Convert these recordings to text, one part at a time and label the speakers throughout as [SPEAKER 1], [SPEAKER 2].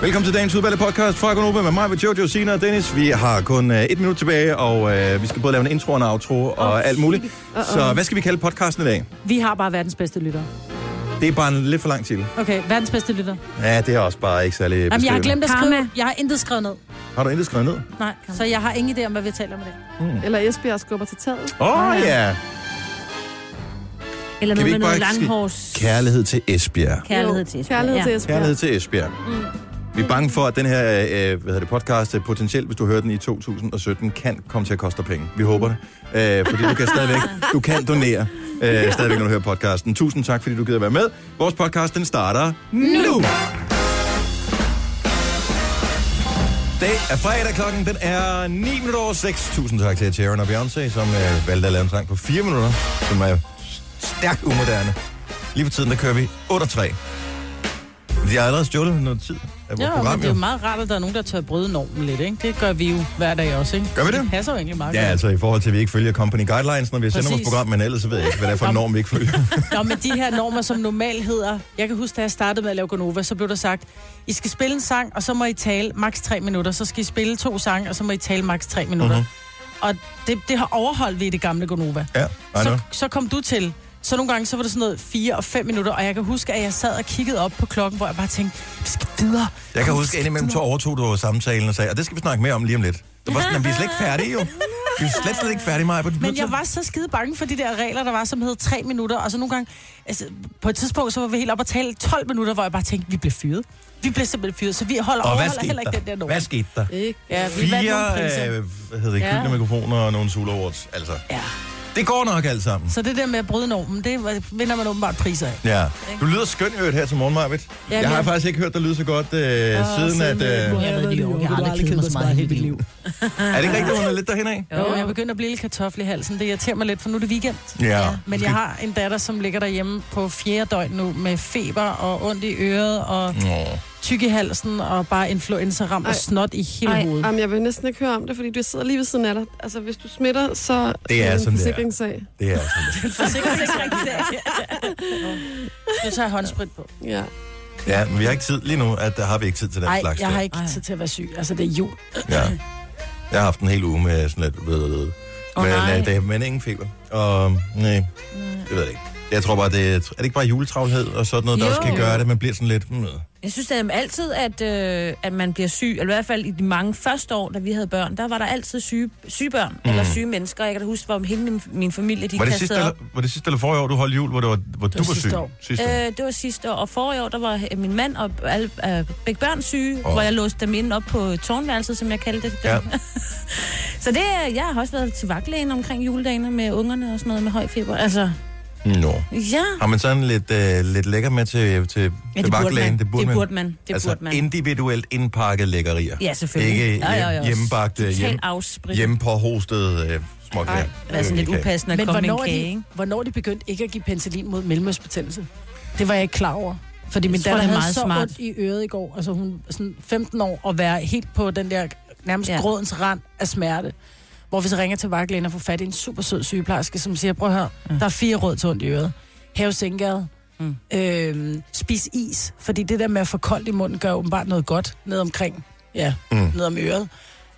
[SPEAKER 1] Velkommen til dagens udvalgte podcast fra Konoba med mig, med Jojo, Sina og Dennis. Vi har kun øh, et minut tilbage, og øh, vi skal både lave en intro og en outro og oh, alt muligt. Uh-oh. Så hvad skal vi kalde podcasten i dag?
[SPEAKER 2] Vi har bare verdens bedste lytter.
[SPEAKER 1] Det er bare en lidt for lang titel.
[SPEAKER 2] Okay, verdens bedste lytter.
[SPEAKER 1] Ja, det er også bare ikke særlig
[SPEAKER 2] Jamen, jeg har
[SPEAKER 1] beskrivende.
[SPEAKER 2] glemt at skrive.
[SPEAKER 3] Karma.
[SPEAKER 2] Jeg har intet skrevet ned.
[SPEAKER 1] Har du intet skrevet ned?
[SPEAKER 2] Nej, så jeg har ingen idé om, hvad vi taler om i dag.
[SPEAKER 4] Eller Esbjerg skubber til taget.
[SPEAKER 1] Åh oh, ja!
[SPEAKER 3] Eller
[SPEAKER 1] Kan vi
[SPEAKER 3] noget
[SPEAKER 1] ikke
[SPEAKER 3] med noget
[SPEAKER 1] bare skrive
[SPEAKER 3] langhårs
[SPEAKER 1] Kærlighed til Esbjerg.
[SPEAKER 3] kærlighed
[SPEAKER 4] Jo,
[SPEAKER 3] til. Esbjerg.
[SPEAKER 4] Kærlighed
[SPEAKER 3] Ja.
[SPEAKER 4] til Esbjerg.
[SPEAKER 1] Kærlighed til Esbjerg. Mm. Vi er bange for, at den her øh, hvad hedder det, podcast øh, potentielt, hvis du hører den i 2017, kan komme til at koste dig penge. Vi håber det. Øh, fordi du kan stadigvæk du kan donere, øh, stadigvæk, når du hører podcasten. Tusind tak, fordi du gider være med. Vores podcast, den starter nu. Det er fredag klokken, den er 9 minutter over 6. Tusind tak til Sharon og Beyoncé, som øh, valgte at lave en sang på 4 minutter, som er stærkt umoderne. Lige for tiden, der kører vi 8 og 3. De har allerede stjålet noget tid af vores
[SPEAKER 5] Ja,
[SPEAKER 1] program.
[SPEAKER 5] men det er jo
[SPEAKER 1] jo.
[SPEAKER 5] meget rart, at der er nogen, der tør bryde normen lidt, ikke? Det gør vi jo hver dag også, ikke?
[SPEAKER 1] Gør vi det?
[SPEAKER 5] Det passer jo egentlig meget
[SPEAKER 1] Ja,
[SPEAKER 5] godt.
[SPEAKER 1] altså i forhold til, at vi ikke følger company guidelines, når vi sender vores
[SPEAKER 5] Præcis.
[SPEAKER 1] program, men ellers så ved jeg ikke, hvad det er for en norm, vi ikke følger.
[SPEAKER 5] Nå, men de her normer, som normalt hedder... Jeg kan huske, da jeg startede med at lave Gonova, så blev der sagt, I skal spille en sang, og så må I tale maks 3 minutter. Så skal I spille to sange, og så må I tale maks 3 minutter.
[SPEAKER 1] Mhm.
[SPEAKER 5] Og det, det har overholdt vi i det gamle Gonova.
[SPEAKER 1] Ja, I know.
[SPEAKER 5] Så, så kom du til. Så nogle gange, så var det sådan noget 4 og 5 minutter, og jeg kan huske, at jeg sad og kiggede op på klokken, hvor jeg bare tænkte, vi skal videre.
[SPEAKER 1] Jeg kan huske, at indimellem to overtog du samtalen og sagde, og det skal vi snakke mere om lige om lidt. Det var sådan, at vi er slet ikke færdige jo. Vi er slet, slet ikke færdige, Maja.
[SPEAKER 5] Men jeg var så skide bange for de der regler, der var, som hed tre minutter. Og så nogle gange, altså, på et tidspunkt, så var vi helt op og tale 12 minutter, hvor jeg bare tænkte, vi blev fyret. Vi blev simpelthen fyret, så vi holder,
[SPEAKER 1] Og hvad
[SPEAKER 5] overholder
[SPEAKER 1] skete
[SPEAKER 5] heller ikke den der
[SPEAKER 1] der?
[SPEAKER 5] norm. Øh,
[SPEAKER 1] Hvad skete der?
[SPEAKER 4] Ikke?
[SPEAKER 5] Ja, vi vandt nogle priser.
[SPEAKER 1] Fire, øh, hvad hedder det,
[SPEAKER 5] Ja.
[SPEAKER 1] gyldne mikrofoner og nogle Sula Awards. Altså,
[SPEAKER 5] Ja.
[SPEAKER 1] det går nok alt sammen.
[SPEAKER 5] Så det der med at bryde normen, det var- vinder man åbenbart priser af.
[SPEAKER 1] Ja. Du lyder skøn i øvrigt her til morgen, Marvitt.
[SPEAKER 5] Ja,
[SPEAKER 1] Jeg har
[SPEAKER 5] men-
[SPEAKER 1] faktisk ikke hørt dig lyde så godt, øh, siden at... Øh,
[SPEAKER 3] Jeg
[SPEAKER 1] er
[SPEAKER 3] har været i New York. Jeg har aldrig kedet mig så meget i hele mit liv.
[SPEAKER 1] det ikke rigtigt, hun er lidt derhen af?
[SPEAKER 5] Jo, jeg begynder at blive lidt kartoffel i halsen. Det irriterer mig lidt, for nu er det weekend.
[SPEAKER 1] Ja.
[SPEAKER 5] Men jeg har en datter, som ligger derhjemme på fjerde døgn nu med feber og ondt i øret og
[SPEAKER 1] Nå.
[SPEAKER 5] tyk i halsen og bare influenza-ram og
[SPEAKER 4] Ej.
[SPEAKER 5] snot i hele
[SPEAKER 4] Nej,
[SPEAKER 5] hovedet.
[SPEAKER 4] jamen, jeg vil næsten ikke høre om det, fordi du sidder lige ved siden af dig. Altså, hvis du smitter, så
[SPEAKER 1] Det er
[SPEAKER 4] en
[SPEAKER 1] sådan, det er.
[SPEAKER 4] forsikringssag.
[SPEAKER 1] Det er altså- sådan.
[SPEAKER 5] Forsikringsregistrering. Nu tager jeg håndsprit på.
[SPEAKER 4] Ja.
[SPEAKER 1] Ja, men vi har ikke tid lige nu, at der har vi ikke tid til den
[SPEAKER 5] Nej,
[SPEAKER 1] slags.
[SPEAKER 5] jeg har
[SPEAKER 1] der.
[SPEAKER 5] ikke tid til at være syg. Altså, det er jul.
[SPEAKER 1] Ja. Jeg har haft en hel uge med sådan lidt... Ved, ved,
[SPEAKER 5] Åh,
[SPEAKER 1] men,
[SPEAKER 5] nej.
[SPEAKER 1] øh, det, men ingen feber. Og nej, det ved jeg ikke. Jeg tror bare, det er, er det ikke bare juletravlhed og sådan noget, der
[SPEAKER 3] Jo.
[SPEAKER 1] også kan gøre det? Man bliver sådan lidt... Mm,
[SPEAKER 3] Jeg synes at altid, at, øh, at man bliver syg, eller i hvert fald i de mange første år, da vi havde børn, der var der altid syge, syge børn, mm. eller syge mennesker. Jeg kan da huske, hvor hele min, min familie, de
[SPEAKER 1] var, det sidste,
[SPEAKER 3] kastede
[SPEAKER 1] eller,
[SPEAKER 3] op.
[SPEAKER 1] var det sidste eller forrige år, du holdt jul, hvor, det var, hvor du
[SPEAKER 5] var
[SPEAKER 1] var
[SPEAKER 5] sidste
[SPEAKER 1] syg?
[SPEAKER 5] år.
[SPEAKER 1] Sidste år.
[SPEAKER 3] Øh, det var sidste år, og forrige år, der var øh, min mand og alle, øh, begge børn syge,
[SPEAKER 1] Åh.
[SPEAKER 3] oh. hvor jeg låste dem inde op på tårnværelset, som jeg kaldte det.
[SPEAKER 1] Ja.
[SPEAKER 3] Så det, øh, jeg har også været til vagtlægen omkring juledagene med ungerne og sådan noget med høj feber. Altså,
[SPEAKER 1] Nå.
[SPEAKER 3] ja.
[SPEAKER 1] Har man sådan lidt, øh, lidt lækker med til, til,
[SPEAKER 3] Ja,
[SPEAKER 1] til
[SPEAKER 3] det burde
[SPEAKER 1] vagtlægen?
[SPEAKER 3] man. Det burde, det burde man. Det
[SPEAKER 1] altså
[SPEAKER 3] burde man.
[SPEAKER 1] individuelt indpakket lækkerier.
[SPEAKER 3] Ja, selvfølgelig.
[SPEAKER 1] Ikke
[SPEAKER 3] Ja, ja, ja.
[SPEAKER 1] hjem- hjemmebagte, hjem,
[SPEAKER 3] Totalt afsprit. Hjem.
[SPEAKER 1] hjemmepåhostede øh, småkager.
[SPEAKER 4] Ej,
[SPEAKER 1] Det
[SPEAKER 3] Det er sådan lidt
[SPEAKER 1] kan jeg ikke.
[SPEAKER 3] upassende at
[SPEAKER 5] Men
[SPEAKER 3] komme med en
[SPEAKER 5] hvornår,
[SPEAKER 3] kage,
[SPEAKER 5] er de,
[SPEAKER 3] ikke?
[SPEAKER 5] hvornår er de begyndte ikke at give penicillin mod mellemøstbetændelse? Det var jeg ikke klar over. Fordi min
[SPEAKER 3] Jeg tror,
[SPEAKER 5] datter
[SPEAKER 3] det er
[SPEAKER 5] havde
[SPEAKER 3] meget
[SPEAKER 5] så
[SPEAKER 3] smart.
[SPEAKER 5] ondt i øret i går. Altså hun er sådan 15 år og være helt på den der nærmest ja.
[SPEAKER 3] Ja.
[SPEAKER 5] grådens rand af smerte. Hvor vi så ringer til vagtlægen og får fat i en super sød sygeplejerske, som siger, prøv at høre, der er fire råd til ondt i øret. Have sænkade. Mm.
[SPEAKER 3] Mm.
[SPEAKER 5] Øhm, spis is, fordi det der med at få koldt i munden gør åbenbart noget godt ned omkring, ja, mm. ned om øret.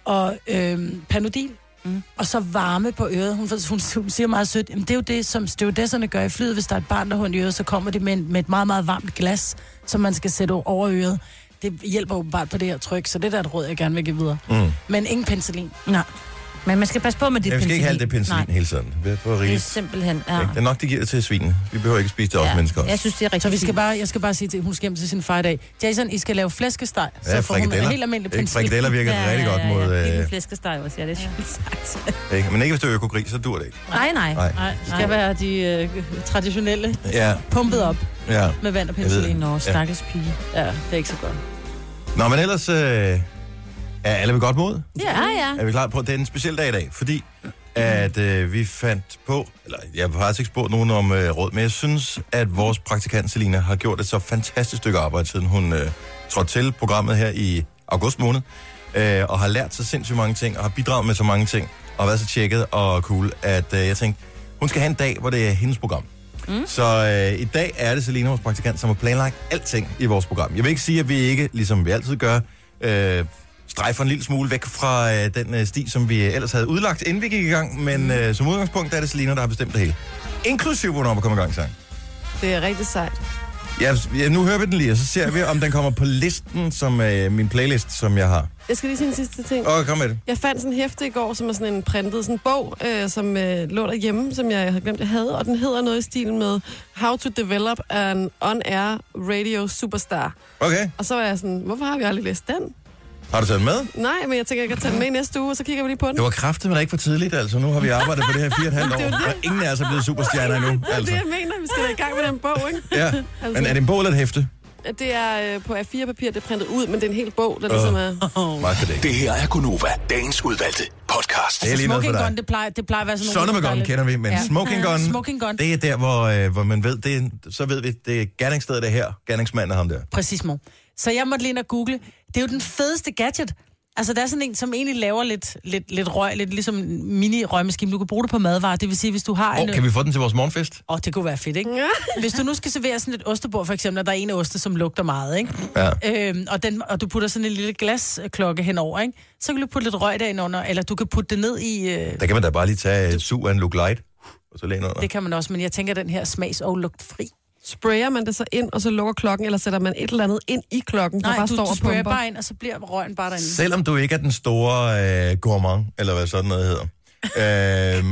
[SPEAKER 5] Og øhm, panodil,
[SPEAKER 2] Mm.
[SPEAKER 5] og så varme på øret. Hun, hun, hun siger meget sødt, "Jamen, det er jo det, som stewardesserne gør i flyet. Hvis der er et barn, der har ondt i øret, så kommer det med, en, med et meget, meget varmt glas, som man skal sætte over øret. Det hjælper åbenbart på det her tryk, så det der er et råd, jeg gerne vil give videre.
[SPEAKER 1] Mm.
[SPEAKER 5] Men ingen penicillin.
[SPEAKER 3] Nej. Men man skal passe på med det
[SPEAKER 1] Ja, vi skal ikke have alt det penicillin
[SPEAKER 3] Nej,
[SPEAKER 1] hele tiden. Det er for
[SPEAKER 3] det er
[SPEAKER 1] rigeligt.
[SPEAKER 3] simpelthen... Ja.
[SPEAKER 1] Ikke? Det er nok, de giver det til svinene. Vi behøver ikke spise det også, mennesker også.
[SPEAKER 3] Jeg synes, det er rigtig
[SPEAKER 5] Så vi skal
[SPEAKER 3] fint.
[SPEAKER 5] bare, jeg skal bare sige til, hun skal hjem til sin far i dag. Jason, I skal lave flæskesteg, så
[SPEAKER 1] ja,
[SPEAKER 5] får hun en
[SPEAKER 1] frikadeller.
[SPEAKER 5] helt almindelig
[SPEAKER 1] Ikke?
[SPEAKER 5] penicillin.
[SPEAKER 1] Frikadeller virker ja, rigtig godt mod... Øh,
[SPEAKER 3] Ja, ja. flæskesteg også, ja, det er sjovt sagt.
[SPEAKER 1] ikke? Men ikke hvis det er økogris, så dur det ikke.
[SPEAKER 3] Nej, nej.
[SPEAKER 1] Nej.
[SPEAKER 2] Nej, det skal være de øh, traditionelle
[SPEAKER 1] Ja,
[SPEAKER 5] Pumpet op
[SPEAKER 1] ja.
[SPEAKER 5] med vand og
[SPEAKER 1] Jeg ved det.
[SPEAKER 5] penicillin.
[SPEAKER 3] Nå, stakkels pige.
[SPEAKER 2] Ja, det er ikke så godt.
[SPEAKER 1] Nå, men ellers... Øh, er alle ved godt mod?
[SPEAKER 3] Ja, ja.
[SPEAKER 1] Er vi klar på, at det er en speciel dag i dag, fordi at øh, vi fandt på, eller jeg har faktisk ikke spurgt nogen om øh, råd, men jeg synes, at vores praktikant Selina har gjort et så fantastisk stykke arbejde, siden hun øh, trådte til programmet her i august måned, øh, og har lært så sindssygt mange ting, og har bidraget med så mange ting, og været så tjekket og cool, at øh, jeg tænkte, hun skal have en dag, hvor det er hendes program. Mm. Så øh, i dag er det Selina, vores praktikant, som har planlagt alting i vores program. Jeg vil ikke sige, at vi ikke, ligesom vi altid gør, øh, strejfer en lille smule væk fra øh, den øh, sti, som vi ellers havde udlagt, inden vi gik i gang. Men øh, som udgangspunkt er det Selina, der har bestemt det hele. Inklusiv, hvornår vi kommer i gang sang.
[SPEAKER 4] Det er rigtig sejt.
[SPEAKER 1] Ja, ja, nu hører vi den lige, og så ser vi, om den kommer på listen, som øh, min playlist, som jeg har.
[SPEAKER 4] Jeg skal lige sige en sidste ting.
[SPEAKER 1] Åh, kom med det.
[SPEAKER 4] Jeg fandt sådan en hæfte i går, som er sådan en printet sådan en bog, øh, som øh, lå derhjemme, som jeg havde glemt, jeg havde. Og den hedder noget i stilen med How to Develop an On-Air Radio Superstar.
[SPEAKER 1] Okay,
[SPEAKER 4] Og så var jeg sådan, hvorfor har vi aldrig læst den?
[SPEAKER 1] har du taget den med?
[SPEAKER 4] Nej, men jeg tænker, jeg kan tage den med i næste uge, og så kigger vi lige på den.
[SPEAKER 1] Det var kraftigt, men ikke for tidligt, altså. Nu har vi arbejdet på det her fire og et halvt år, og ingen af os er blevet superstjerner endnu,
[SPEAKER 4] Det er det,
[SPEAKER 1] altså.
[SPEAKER 4] jeg mener. Vi skal da i gang med den bog, ikke?
[SPEAKER 1] Ja.
[SPEAKER 4] Altså,
[SPEAKER 1] Men er det en bog eller et hæfte?
[SPEAKER 4] Det er øh, på A4-papir, det er printet ud, men det er en hel bog, der ligesom er...
[SPEAKER 1] Meget for det.
[SPEAKER 6] Det her er Gunova, dagens udvalgte podcast.
[SPEAKER 1] Det er lige noget for
[SPEAKER 5] Smoking gun,
[SPEAKER 1] dig.
[SPEAKER 5] det plejer, det plejer at være sådan
[SPEAKER 1] Sonne med gun
[SPEAKER 5] dejligt-
[SPEAKER 1] kender vi, men
[SPEAKER 5] Ja.
[SPEAKER 1] smoking gun,
[SPEAKER 5] Smoking gun.
[SPEAKER 1] det er der, hvor, øh, hvor man ved, det er, så ved vi, det er gerningsstedet det er her. Gerningsmanden er ham der.
[SPEAKER 5] Præcis, mor. Så jeg måtte lige ind og google. Det er jo den fedeste gadget. Altså, der er sådan en, som egentlig laver lidt, lidt, lidt røg, lidt ligesom en mini-røgmaskine. Du kan bruge det på madvarer. Det vil sige, hvis du har en...
[SPEAKER 1] Åh, kan vi få den til vores morgenfest?
[SPEAKER 5] Åh, oh, det kunne være fedt, ikke? Hvis du nu skal servere sådan et ostebord, for eksempel, og der er en af oste, som lugter meget, ikke?
[SPEAKER 1] Ja.
[SPEAKER 5] Øhm, og, den, og du putter sådan en lille glasklokke henover, ikke? Så kan du putte lidt røg derunder, eller du kan putte det ned i... Øh,
[SPEAKER 1] Der kan man da bare lige tage et sug af en look light, og så læne under.
[SPEAKER 5] det kan man også, men jeg tænker, den her smags- og lugtfri.
[SPEAKER 4] Sprayer man det så ind, og så lukker klokken, eller sætter man et eller andet ind i klokken, der
[SPEAKER 5] Nej,
[SPEAKER 4] bare
[SPEAKER 5] du,
[SPEAKER 4] står
[SPEAKER 5] du
[SPEAKER 4] og
[SPEAKER 5] sprayer
[SPEAKER 4] pumper?
[SPEAKER 5] bare ind, og så bliver røgen bare derinde.
[SPEAKER 1] Selvom du ikke er den store øh, gourmand, eller hvad sådan noget hedder, øh,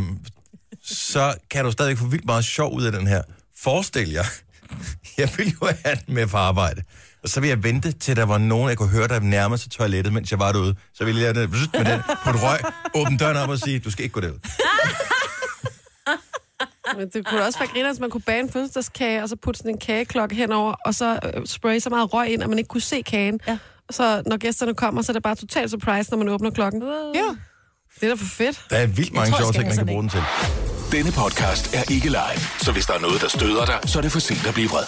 [SPEAKER 1] så kan du stadig få vildt meget sjov ud af den her. Forestil jer, jeg ville jo have den med på arbejde. Og så ville jeg vente til, der var nogen, jeg kunne høre, der nærmede sig toilettet, mens jeg var derude. Så ville jeg lave det vzzzt med den, på et røg, åbne døren op og sige, du skal ikke gå derud.
[SPEAKER 4] Men det kunne da også være griner, hvis man kunne bage en fødselsdagskage, og så putte sådan en kageklokke henover, og så øh, spraye så meget røg ind, at man ikke kunne se kagen.
[SPEAKER 5] Ja.
[SPEAKER 4] Og så når gæsterne kommer, så er det bare totalt surprise, når man åbner klokken. Ja. Det er da for fedt.
[SPEAKER 1] Der er vildt mange
[SPEAKER 5] tror, jeg
[SPEAKER 1] sjove
[SPEAKER 5] skal
[SPEAKER 1] ting, man
[SPEAKER 5] have
[SPEAKER 1] kan
[SPEAKER 5] sådan
[SPEAKER 1] bruge den til.
[SPEAKER 6] Denne podcast er ikke live, så hvis der er noget, der støder dig, så er det for sent at blive vred.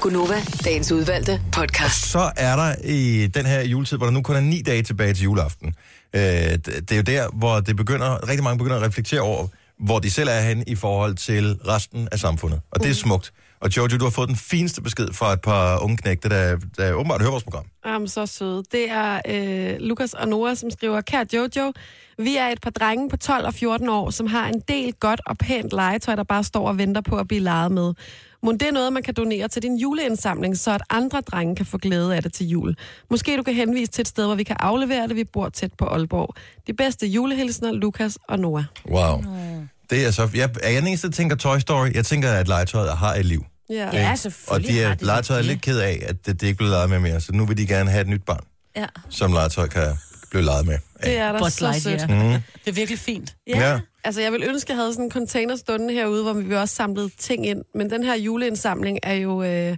[SPEAKER 7] Gunova, dagens udvalgte podcast.
[SPEAKER 1] så er der i den her juletid, hvor der nu kun er ni dage tilbage til juleaften. Øh, det det er jo der, hvor det begynder, rigtig mange begynder at reflektere over, hvor de selv er henne i forhold til resten af samfundet. Og det er smukt. Og Jojo, du har fået den fineste besked fra et par unge knægte, der, der åbenbart hører vores program.
[SPEAKER 4] Jamen, så søde. Det er øh, Lukas og Nora, som skriver, Kære Jojo, vi er et par drenge på 12 og 14 år, som har en del godt og pænt legetøj, der bare står og venter på at blive leget med. Men det er noget, man kan donere til din juleindsamling, så at andre drenge kan få glæde af det til jul. Måske du kan henvise til et sted, hvor vi kan aflevere det. Vi bor tæt på Aalborg. De bedste julehilsner, Lukas og Nora.
[SPEAKER 1] Wow. Mm. Det er så... Jeg, er jeg den eneste, der tænker Toy Story? Jeg tænker, at legetøjet har et liv.
[SPEAKER 4] Ja.
[SPEAKER 3] Ja,
[SPEAKER 1] Ikke?
[SPEAKER 3] selvfølgelig
[SPEAKER 1] Og de
[SPEAKER 3] har
[SPEAKER 1] er,
[SPEAKER 3] det
[SPEAKER 1] legetøjet er
[SPEAKER 3] det.
[SPEAKER 1] lidt ked af, at det, det ikke bliver leget med mere. Så nu vil de gerne have et nyt barn,
[SPEAKER 3] Ja.
[SPEAKER 1] som legetøj kan blive leget med.
[SPEAKER 4] Det er da
[SPEAKER 5] Buzz
[SPEAKER 4] så sødt.
[SPEAKER 5] Lightyear. Det er virkelig fint.
[SPEAKER 1] Ja.
[SPEAKER 4] Altså, jeg vil ønske, at jeg havde sådan en container stående herude, hvor vi også samlede ting ind. Men den her juleindsamling er jo... Øh,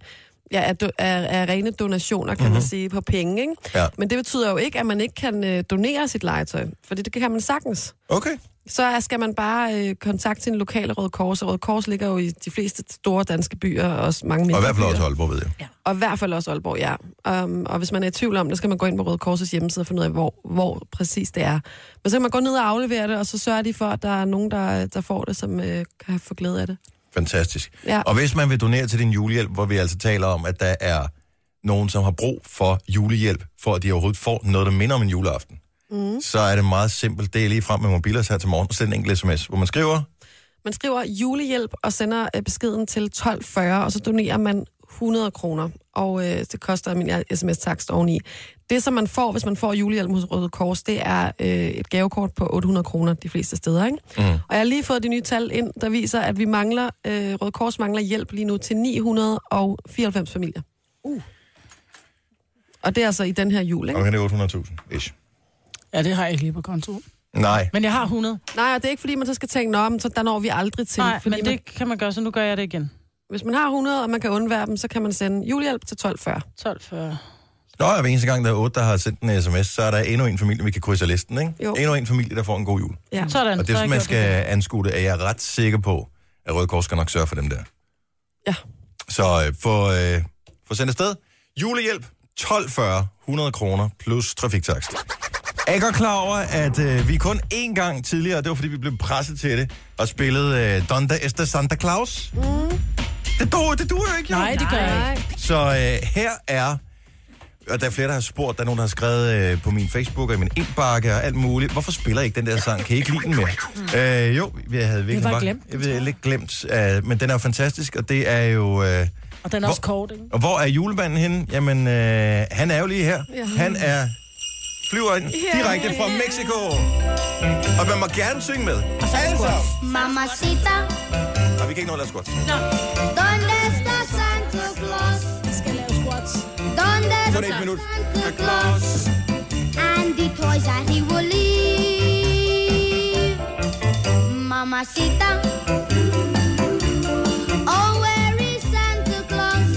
[SPEAKER 4] Ja, er, do- er, er rene donationer, kan mm-hmm. man sige, på penge. Ikke?
[SPEAKER 1] Mhm. Ja.
[SPEAKER 4] Men det betyder jo ikke, at man ikke kan øh, donere sit legetøj, for det kan man sagtens.
[SPEAKER 1] Okay.
[SPEAKER 4] Så er- skal man bare øh, kontakte sin lokale Røde Kors, og Røde Kors ligger jo i de fleste store danske byer, og også mange mindre
[SPEAKER 1] Og i hvert fald
[SPEAKER 4] byer.
[SPEAKER 1] også Aalborg, ved jeg.
[SPEAKER 4] Og i hvert fald også Aalborg, ja. Um, og hvis man er i tvivl om det, skal man gå ind på Røde Korsets hjemmeside og finde ud af, hvor, hvor præcis det er. Men så kan man gå ned og aflevere det, og så sørger de for, at der er nogen, der, der får det, som øh, kan få glæde af det.
[SPEAKER 1] Fantastisk.
[SPEAKER 4] Ja.
[SPEAKER 1] Og hvis man vil donere til din julehjælp, hvor vi altså taler om, at der er nogen, som har brug for julehjælp, for at de overhovedet får noget, der minder om en juleaften, mm. så er det meget simpelt. Det er lige frem med mobilers her til morgen. Send en enkelt sms, hvor man skriver,
[SPEAKER 4] Man skriver julehjælp og sender øh, beskeden til 1240, og så donerer man 100 kroner, og øh, det koster min sms-takst oveni. Det, som man får, hvis man får julehjælp hos Røde Kors, det er øh, et gavekort på 800 kroner de fleste steder. Ikke? Mm. Og jeg har lige fået de nye tal ind, der viser, at vi mangler øh, Røde Kors mangler hjælp lige nu til 994 familier. Uh. Og det er altså i den her jul, ikke?
[SPEAKER 1] okay, det er 800.000, ish.
[SPEAKER 5] Ja, det har jeg ikke lige på konto.
[SPEAKER 1] Nej,
[SPEAKER 5] Men jeg har 100.
[SPEAKER 4] Nej, og det er ikke, fordi man så skal tænke, nå, men så der når vi aldrig til.
[SPEAKER 5] Nej,
[SPEAKER 4] fordi
[SPEAKER 5] men
[SPEAKER 4] man,
[SPEAKER 5] det kan man gøre, så nu gør jeg det igen.
[SPEAKER 4] hvis man har 100, og man kan undvære dem, så kan man sende julehjælp til 1240.
[SPEAKER 5] 12 for...
[SPEAKER 1] Nå, og hver eneste gang, der er otte, der har sendt en sms, så er der endnu en familie, vi kan krydse af listen, ikke?
[SPEAKER 4] Jo.
[SPEAKER 1] Endnu en familie, der får en god jul.
[SPEAKER 4] Ja.
[SPEAKER 5] Sådan,
[SPEAKER 1] Og det
[SPEAKER 5] så
[SPEAKER 1] er
[SPEAKER 5] har
[SPEAKER 1] sådan, man
[SPEAKER 5] jeg gjort
[SPEAKER 1] skal
[SPEAKER 5] det.
[SPEAKER 1] anskue det, er jeg ret sikker på, at Røde Kors skal nok sørge for dem der.
[SPEAKER 4] Ja.
[SPEAKER 1] Så øh, få, øh, få sendt afsted. Julehjælp, 1240, 100 kroner plus trafiktakst. Er I godt klar over, at øh, vi kun én gang tidligere, og det var fordi vi blev presset til det, og spillede øh, Donda Esta Santa Claus? Mm. Det duer, det duer jo ikke, jo.
[SPEAKER 5] Nej, det gør jeg ikke.
[SPEAKER 1] Så øh, her er, og der er flere, der har spurgt, der er nogen, der har skrevet øh, på min Facebook og i min indbakke og alt muligt. Hvorfor spiller I ikke den der sang? Kan I ikke lide den mere? Øh, jo, vi havde virkelig
[SPEAKER 5] var
[SPEAKER 1] bare-
[SPEAKER 5] glemt,
[SPEAKER 1] Jeg ved, lidt glemt, øh, men den er jo fantastisk, og det er jo... Øh,
[SPEAKER 5] Og den er også
[SPEAKER 1] Hvor-
[SPEAKER 5] kort, ikke?
[SPEAKER 1] og hvor er julemanden henne? Jamen, øh, han er jo lige her.
[SPEAKER 4] Ja.
[SPEAKER 1] Han er flyver ind direkte fra Mexico. Og man må gerne synge med. Alle sammen.
[SPEAKER 8] Mamacita,
[SPEAKER 1] Og vi kan ikke nå at lade squats.
[SPEAKER 8] ¿dónde está Santa Claus? ¿Dónde
[SPEAKER 1] Kun
[SPEAKER 8] está
[SPEAKER 1] et minut.
[SPEAKER 8] Santa Claus? And the toys that he will leave. Mamacita. Oh, where is Santa Claus?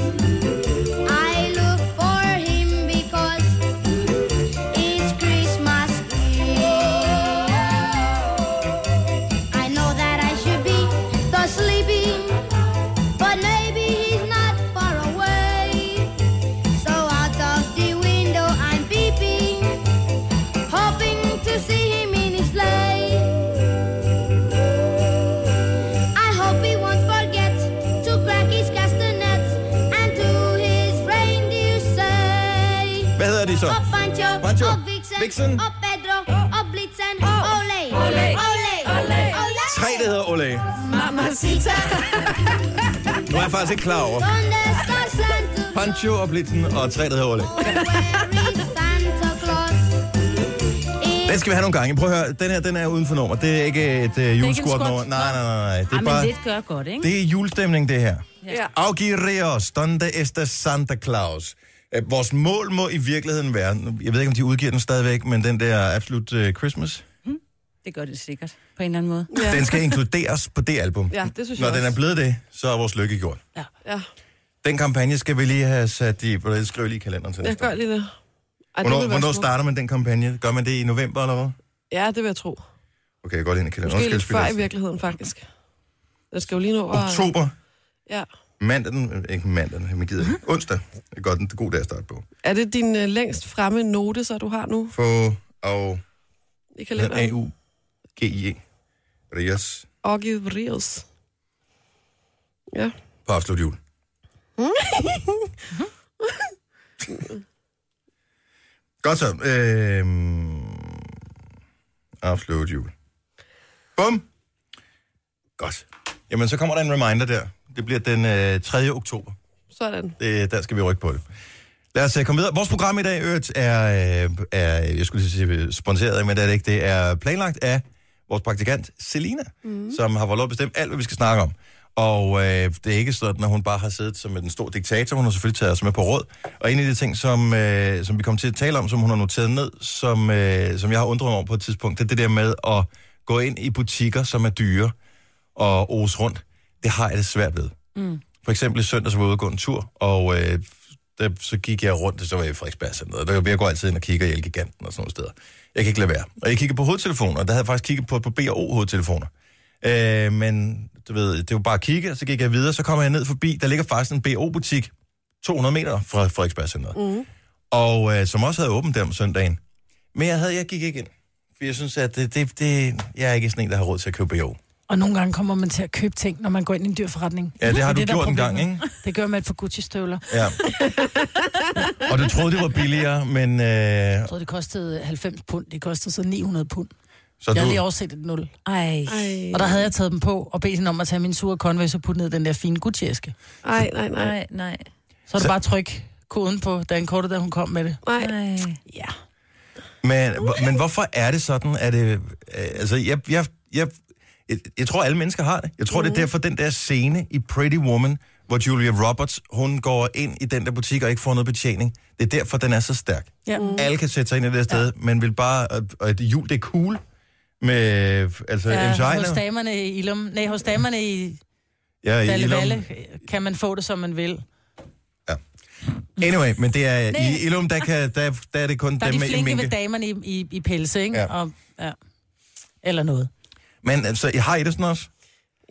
[SPEAKER 8] I look for him because it's Christmas Eve. I know that I should be the sleeping, but maybe he's not far away. So out of the window I'm peeping, hoping to see him in his sleigh. I hope he won't forget to crack his castanets and to his reindeer say.
[SPEAKER 1] Hvad hedder de så?
[SPEAKER 8] Og Pancho,
[SPEAKER 1] Pancho,
[SPEAKER 8] og Vixen,
[SPEAKER 1] Vixen.
[SPEAKER 8] og Pedro, og Blitzen, Oh, ole, ole, ole, ole, ole.
[SPEAKER 1] Tre, der hedder Ole.
[SPEAKER 4] Mamacita.
[SPEAKER 1] Nu er jeg faktisk ikke klar over.
[SPEAKER 8] Donde está Santa Claus?
[SPEAKER 1] Pancho og Blitzen og tre, der hedder Ole.
[SPEAKER 8] Where is Santa Claus?
[SPEAKER 1] Den skal vi have nogle gange. Prøv at høre, den her den er uden for nummer. Det er ikke et øh, juleskort nummer.
[SPEAKER 2] squat.
[SPEAKER 1] Nej, nej, nej, nej. Det er
[SPEAKER 3] Ej, men
[SPEAKER 1] bare,
[SPEAKER 3] lidt gør godt, ikke?
[SPEAKER 1] det er julestemning, det her.
[SPEAKER 4] Ja.
[SPEAKER 1] Augirreos, donde está Santa Claus? Øh, Vores mål må i virkeligheden være, nu- jeg ved ikke, om de udgiver den stadigvæk, men den der Absolut øh, Christmas,
[SPEAKER 3] Det gør det sikkert, på en eller anden måde.
[SPEAKER 1] ja. den skal inkluderes på det album.
[SPEAKER 4] Ja, det synes
[SPEAKER 1] Når
[SPEAKER 4] jeg
[SPEAKER 1] den er
[SPEAKER 4] også.
[SPEAKER 1] blevet det, så er vores lykke gjort.
[SPEAKER 4] Ja,
[SPEAKER 1] Den kampagne skal vi lige have sat i, på det skrive lige i kalenderen til
[SPEAKER 4] jeg
[SPEAKER 1] næste
[SPEAKER 4] gør
[SPEAKER 1] år.
[SPEAKER 4] lige det. Ej, det
[SPEAKER 1] Hvornår,
[SPEAKER 4] ville være
[SPEAKER 1] hvornår
[SPEAKER 4] smukt.
[SPEAKER 1] starter man den kampagne? Gør man det i november eller hvad?
[SPEAKER 4] Ja, det vil jeg tro.
[SPEAKER 1] Okay, jeg går lige ind i kalenderen.
[SPEAKER 4] Måske lidt
[SPEAKER 1] Undskyld,
[SPEAKER 4] før i
[SPEAKER 1] Spilles.
[SPEAKER 4] virkeligheden, faktisk. Jeg skal jo lige nå at...
[SPEAKER 1] Oktober.
[SPEAKER 4] Ja.
[SPEAKER 1] Mandag den, øh, ikke mandag den, jeg gider ikke.
[SPEAKER 4] Mhm.
[SPEAKER 1] Onsdag. Det er godt, en god dag at starte på.
[SPEAKER 4] Er det din øh, længst fremme note, så du har nu
[SPEAKER 1] På og
[SPEAKER 4] i
[SPEAKER 1] a
[SPEAKER 4] kalenderen?
[SPEAKER 1] u g i e Rios
[SPEAKER 4] Oggi Rios. Ja.
[SPEAKER 1] på Absolut Jul. godt så. Øhm, Absolut Jul. Bum. Godt. Jamen, så kommer der en reminder der. Det bliver den øh, 3. oktober.
[SPEAKER 4] Sådan.
[SPEAKER 1] Det, Øh, der skal vi rykke på det. Lad os øh, komme videre. Vores program i dag, øvrigt, er, øh, er, jeg skulle lige sige øh, sponsoreret, men det er det ikke. Det er planlagt af vores praktikant, Selina, mm. som har fået lov at bestemme alt, hvad vi skal snakke om. Og øh, det er ikke sådan, at hun bare har siddet som en stor diktator. Hun har selvfølgelig taget os med på råd. Og en af de ting, som, øh, som vi kom til at tale om, som hun har noteret ned, som, øh, som jeg har undret mig over på et tidspunkt, det er det der med at gå ind i butikker, som er dyre, og ose rundt. Det har jeg det svært ved. For eksempel i søndags var jeg ude og gå en tur, og øh, der, så gik jeg rundt, og så var jeg i Frederiksberg sådan noget. Der, jeg går altid ind og kigger i Elgiganten og sådan nogle steder. Jeg kan ikke lade være. Og jeg kigger på hovedtelefoner, og der havde jeg faktisk kigget på et par B&O hovedtelefoner. Øh, men du ved, det var bare at kigge, og så gik jeg videre, så kommer jeg ned forbi. Der ligger faktisk en BO-butik 200 meter fra Frederiksberg
[SPEAKER 5] Mhm.
[SPEAKER 1] Centeret. Mm. Og øh, som også havde åbent der om søndagen. Men jeg, havde, jeg gik ikke ind. For jeg synes, at det, det, det, jeg er ikke sådan en, der har råd til at købe BO.
[SPEAKER 5] Og nogle gange kommer man til at købe ting, når man går ind i en dyr forretning.
[SPEAKER 1] Ja, det har
[SPEAKER 5] er
[SPEAKER 1] du
[SPEAKER 5] der er
[SPEAKER 1] gjort en gang,
[SPEAKER 5] problemet.
[SPEAKER 1] ikke?
[SPEAKER 5] Det gør man for Gucci-støvler. Jeg
[SPEAKER 1] Ja. og du troede, det var billigere, men... Øh,
[SPEAKER 5] troede, det kostede 90 pund. Det kostede så 900 pund.
[SPEAKER 1] så
[SPEAKER 5] Jeg
[SPEAKER 1] du,
[SPEAKER 5] havde lige overset et nul.
[SPEAKER 3] Ej.
[SPEAKER 4] Ej,
[SPEAKER 5] Og der havde jeg taget dem på og bedt hende om at tage min sure Converse og putte ned i den der fine Gucci-æske.
[SPEAKER 4] nej, nej, nej.
[SPEAKER 3] Nej, nej,
[SPEAKER 5] Så er det bare tryk koden på dankortet, da hun kom med det.
[SPEAKER 4] nej.
[SPEAKER 3] nej.
[SPEAKER 5] Ja.
[SPEAKER 1] men, hvor- men hvorfor er det sådan, at... Øh, øh, altså, jeg, jeg, jeg, jeg, jeg tror, alle mennesker har det. Jeg tror, mm. det
[SPEAKER 5] Mhm.
[SPEAKER 1] er derfor, den der scene i Pretty Woman, hvor Julia Roberts, hun går ind i den der butik og ikke får noget betjening. Det er derfor, den er så stærk.
[SPEAKER 5] Ja.
[SPEAKER 1] Mm. Alle kan sætte sig ind i det her sted, ja. men vil bare... Og, og det jul, det er cool med... Altså, ja,
[SPEAKER 5] Ja,
[SPEAKER 1] MCI...
[SPEAKER 5] hos damerne i Ilum, nej, hos damerne i
[SPEAKER 1] Ja, i
[SPEAKER 5] Dalle
[SPEAKER 1] Illum.
[SPEAKER 5] Valle kan man få det, som man vil.
[SPEAKER 1] Anyway, men det er...
[SPEAKER 5] Nej.
[SPEAKER 1] I Illum, der, kan, der, der er det kun
[SPEAKER 5] Der er
[SPEAKER 1] dem
[SPEAKER 5] de
[SPEAKER 1] med i
[SPEAKER 5] flinke ved
[SPEAKER 1] minke.
[SPEAKER 5] damerne i, i, i pelse, ikke?
[SPEAKER 1] Ja.
[SPEAKER 5] Ja. Og, ja. Eller noget.
[SPEAKER 1] Men altså, har I det sådan også?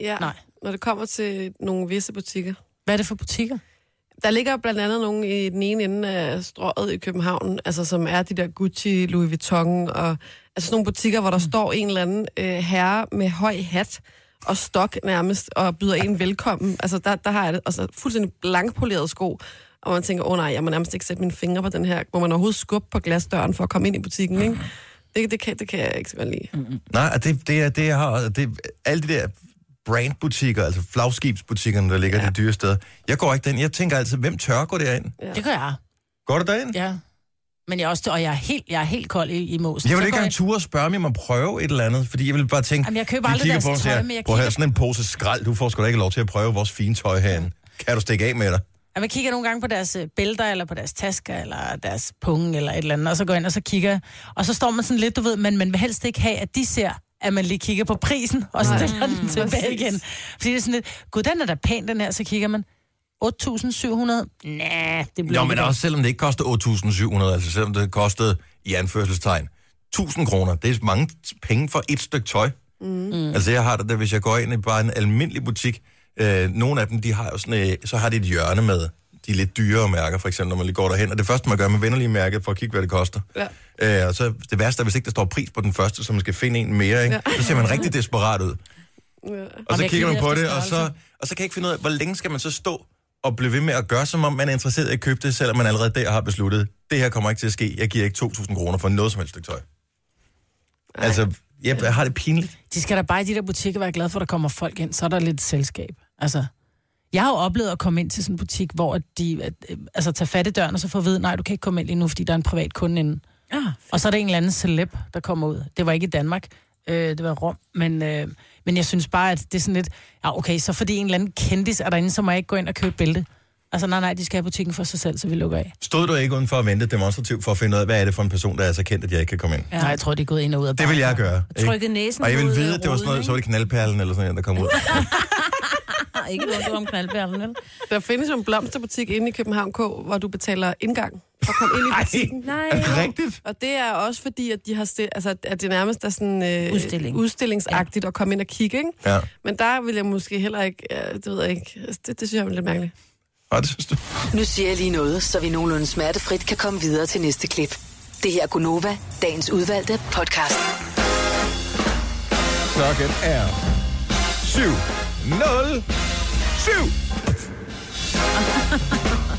[SPEAKER 4] Ja.
[SPEAKER 5] Nej.
[SPEAKER 4] Når det kommer til nogle visse butikker.
[SPEAKER 5] Hvad er det for butikker?
[SPEAKER 4] Der ligger jo blandt andet nogle i den ene ende af strøget i København, altså som er de der Gucci, Louis Vuitton og altså sådan nogle butikker, hvor der står en eller anden øh, herre med høj hat og stok nærmest, og byder en velkommen. Altså, der, der har jeg det. Og så fuldstændig blankpolerede sko. Og man tænker, åh oh, nej, jeg må nærmest ikke sætte mine fingre på den her. Må man overhovedet skubbe på glasdøren for at komme ind i butikken, ikke? Det, det, kan, det kan jeg ikke så godt lide.
[SPEAKER 1] Nej, og det, det, er, det jeg har, det, alle de der brandbutikker, altså flagskibsbutikkerne, der ligger ja. de dyre steder. Jeg går ikke derind. Jeg tænker altid, hvem tør gå derind?
[SPEAKER 5] Det gør jeg,
[SPEAKER 1] Går du derind? Ja.
[SPEAKER 5] ja. Men jeg er også, og jeg er helt, jeg er helt kold i, i måsen.
[SPEAKER 1] Jeg vil
[SPEAKER 5] Så
[SPEAKER 1] ikke
[SPEAKER 5] går
[SPEAKER 1] engang ture at spørge mig om at prøve et eller andet, fordi jeg vil bare tænke,
[SPEAKER 5] Jamen, jeg køber
[SPEAKER 1] de
[SPEAKER 5] aldrig
[SPEAKER 1] kigger
[SPEAKER 5] deres
[SPEAKER 1] på mig og
[SPEAKER 5] tøj,
[SPEAKER 1] siger,
[SPEAKER 5] men jeg
[SPEAKER 1] Prøv at
[SPEAKER 5] kigger-
[SPEAKER 1] have sådan en pose skrald, du får sgu da ikke lov til at prøve vores fine tøj herinde. Kan du stikke af med dig?
[SPEAKER 5] Ja, man kigger nogle gange på deres øh, bælter, eller på deres tasker, eller deres punge, eller et eller andet, og så går jeg ind, og så kigger jeg. Og så står man sådan lidt, du ved, men man vil helst ikke have, at de ser, at man lige kigger på prisen, og stiller den tilbage
[SPEAKER 4] præcis.
[SPEAKER 5] igen. Fordi det er sådan lidt, gud, den er da pæn, den her, så kigger man, 8.700? Næh, det bliver
[SPEAKER 1] Jo, men
[SPEAKER 5] ikke
[SPEAKER 1] også selvom det ikke koster 8.700, altså selvom det kostede i anførselstegn 1.000 kroner, det er mange t- penge for et stykke tøj. Mm. Altså jeg har det, der, hvis jeg går ind i bare en almindelig butik, øh, nogle af dem, de har jo sådan, øh, så har de et hjørne med de lidt dyrere mærker, for eksempel, når man lige går derhen. Og det første, man gør, man vender lige mærket for at kigge, hvad det koster. Ja. Øh, og så det værste er, hvis ikke der står pris på den første, så man skal finde en mere, ikke? Ja. så ser man rigtig desperat ud. Og så
[SPEAKER 5] jeg
[SPEAKER 1] kigger man
[SPEAKER 5] kiggede
[SPEAKER 1] på
[SPEAKER 5] efter
[SPEAKER 1] det, og så,
[SPEAKER 5] størrelse.
[SPEAKER 1] og så kan jeg ikke finde ud af, hvor længe skal man så stå og blive ved med at gøre, som om man er interesseret i at købe det, selvom man allerede der har besluttet, det her kommer ikke til at ske, jeg giver ikke 2.000 kroner for noget som helst stykke tøj. Ej. Altså, jeg jeg har det pinligt.
[SPEAKER 5] De skal da bare i de der butikker være glade for, at der kommer folk ind, så er der lidt selskab. Altså, jeg har jo oplevet at komme ind til sådan en butik, hvor at de at, øh, altså, tager fat i døren, og så får at vide, nej, du kan ikke komme ind lige nu, fordi der er en privat kunde inde.
[SPEAKER 3] Ah,
[SPEAKER 5] Og så er der en eller anden celeb, der kommer ud. Det var ikke i Danmark, øh, det var i Rom. Men, øh, men jeg synes bare, at det er sådan lidt... Ja, okay, så fordi en eller anden kendis er derinde, så må jeg ikke gå ind og købe et bælte. Altså, nej, nej, de skal have butikken for sig selv, så vi lukker af.
[SPEAKER 1] Stod du ikke uden for at vente demonstrativt for at finde ud af, hvad er det for en person, der er så kendt, at jeg ikke kan komme ind?
[SPEAKER 5] Ja. Nej, jeg tror, de er gået ind og ud af
[SPEAKER 1] Det vil jeg gøre. ikke?
[SPEAKER 3] Trykket næsen
[SPEAKER 1] Og jeg vil
[SPEAKER 3] mod, øh,
[SPEAKER 1] vide, at det var sådan
[SPEAKER 3] ruden,
[SPEAKER 1] noget, så var det knaldperlen eller sådan noget, der kom ud.
[SPEAKER 3] Nej, ikke noget om knaldbærlen, vel?
[SPEAKER 4] Der findes jo en blomsterbutik inde i København K, hvor du betaler indgang for at komme ind i butikken.
[SPEAKER 3] Nej.
[SPEAKER 1] Er det rigtigt?
[SPEAKER 4] Og det er også fordi, at, de har stil, altså, at det nærmest er sådan øh,
[SPEAKER 3] Udstilling.
[SPEAKER 4] udstillingsagtigt at komme ind og kigge. Ikke?
[SPEAKER 1] Ja.
[SPEAKER 4] Men der vil jeg måske heller ikke, øh, det ved jeg ikke, altså, det, det synes jeg er lidt mærkeligt.
[SPEAKER 1] Og det synes du?
[SPEAKER 7] Nu siger jeg lige noget, så vi nogenlunde smertefrit kan komme videre til næste klip. Det her er Gunova, dagens udvalgte podcast.
[SPEAKER 1] Klokken er 7. 0. 7.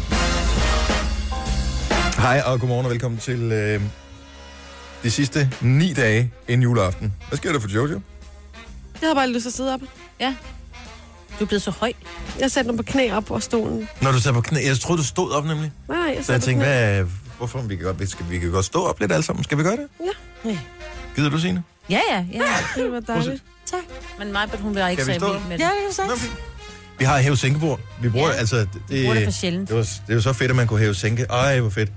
[SPEAKER 1] Hej og godmorgen og velkommen til øh, de sidste 9 dage inden juleaften. Hvad sker der for Jojo?
[SPEAKER 4] Jeg havde bare lyst til at sidde op.
[SPEAKER 3] Du er blevet så høj.
[SPEAKER 4] Jeg satte mig på knæ op over stolen.
[SPEAKER 1] Når du sad på knæ, jeg troede, du stod op nemlig.
[SPEAKER 4] Nej, nej, jeg
[SPEAKER 1] Så jeg
[SPEAKER 4] satte
[SPEAKER 1] tænkte,
[SPEAKER 4] på knæ.
[SPEAKER 1] hvad, hvorfor? Vi kan, godt, vi, skal, vi kan godt stå op lidt alle sammen. Skal vi gøre det?
[SPEAKER 4] Ja.
[SPEAKER 1] Gider du, Signe?
[SPEAKER 3] Ja, ja, ja.
[SPEAKER 4] Det var dejligt.
[SPEAKER 3] Men mig, hun var ikke
[SPEAKER 1] Kan
[SPEAKER 3] så
[SPEAKER 1] vi stå?
[SPEAKER 3] vild med det. Ja, det er
[SPEAKER 1] Nå, fint. Vi har hæve sænkebord. Vi bruger, ja.
[SPEAKER 3] Ja.
[SPEAKER 1] altså, det,
[SPEAKER 3] bruger det for sjældent.
[SPEAKER 1] Det var, det var så fedt, at man kunne hæve sænke. Ej, hvor fedt.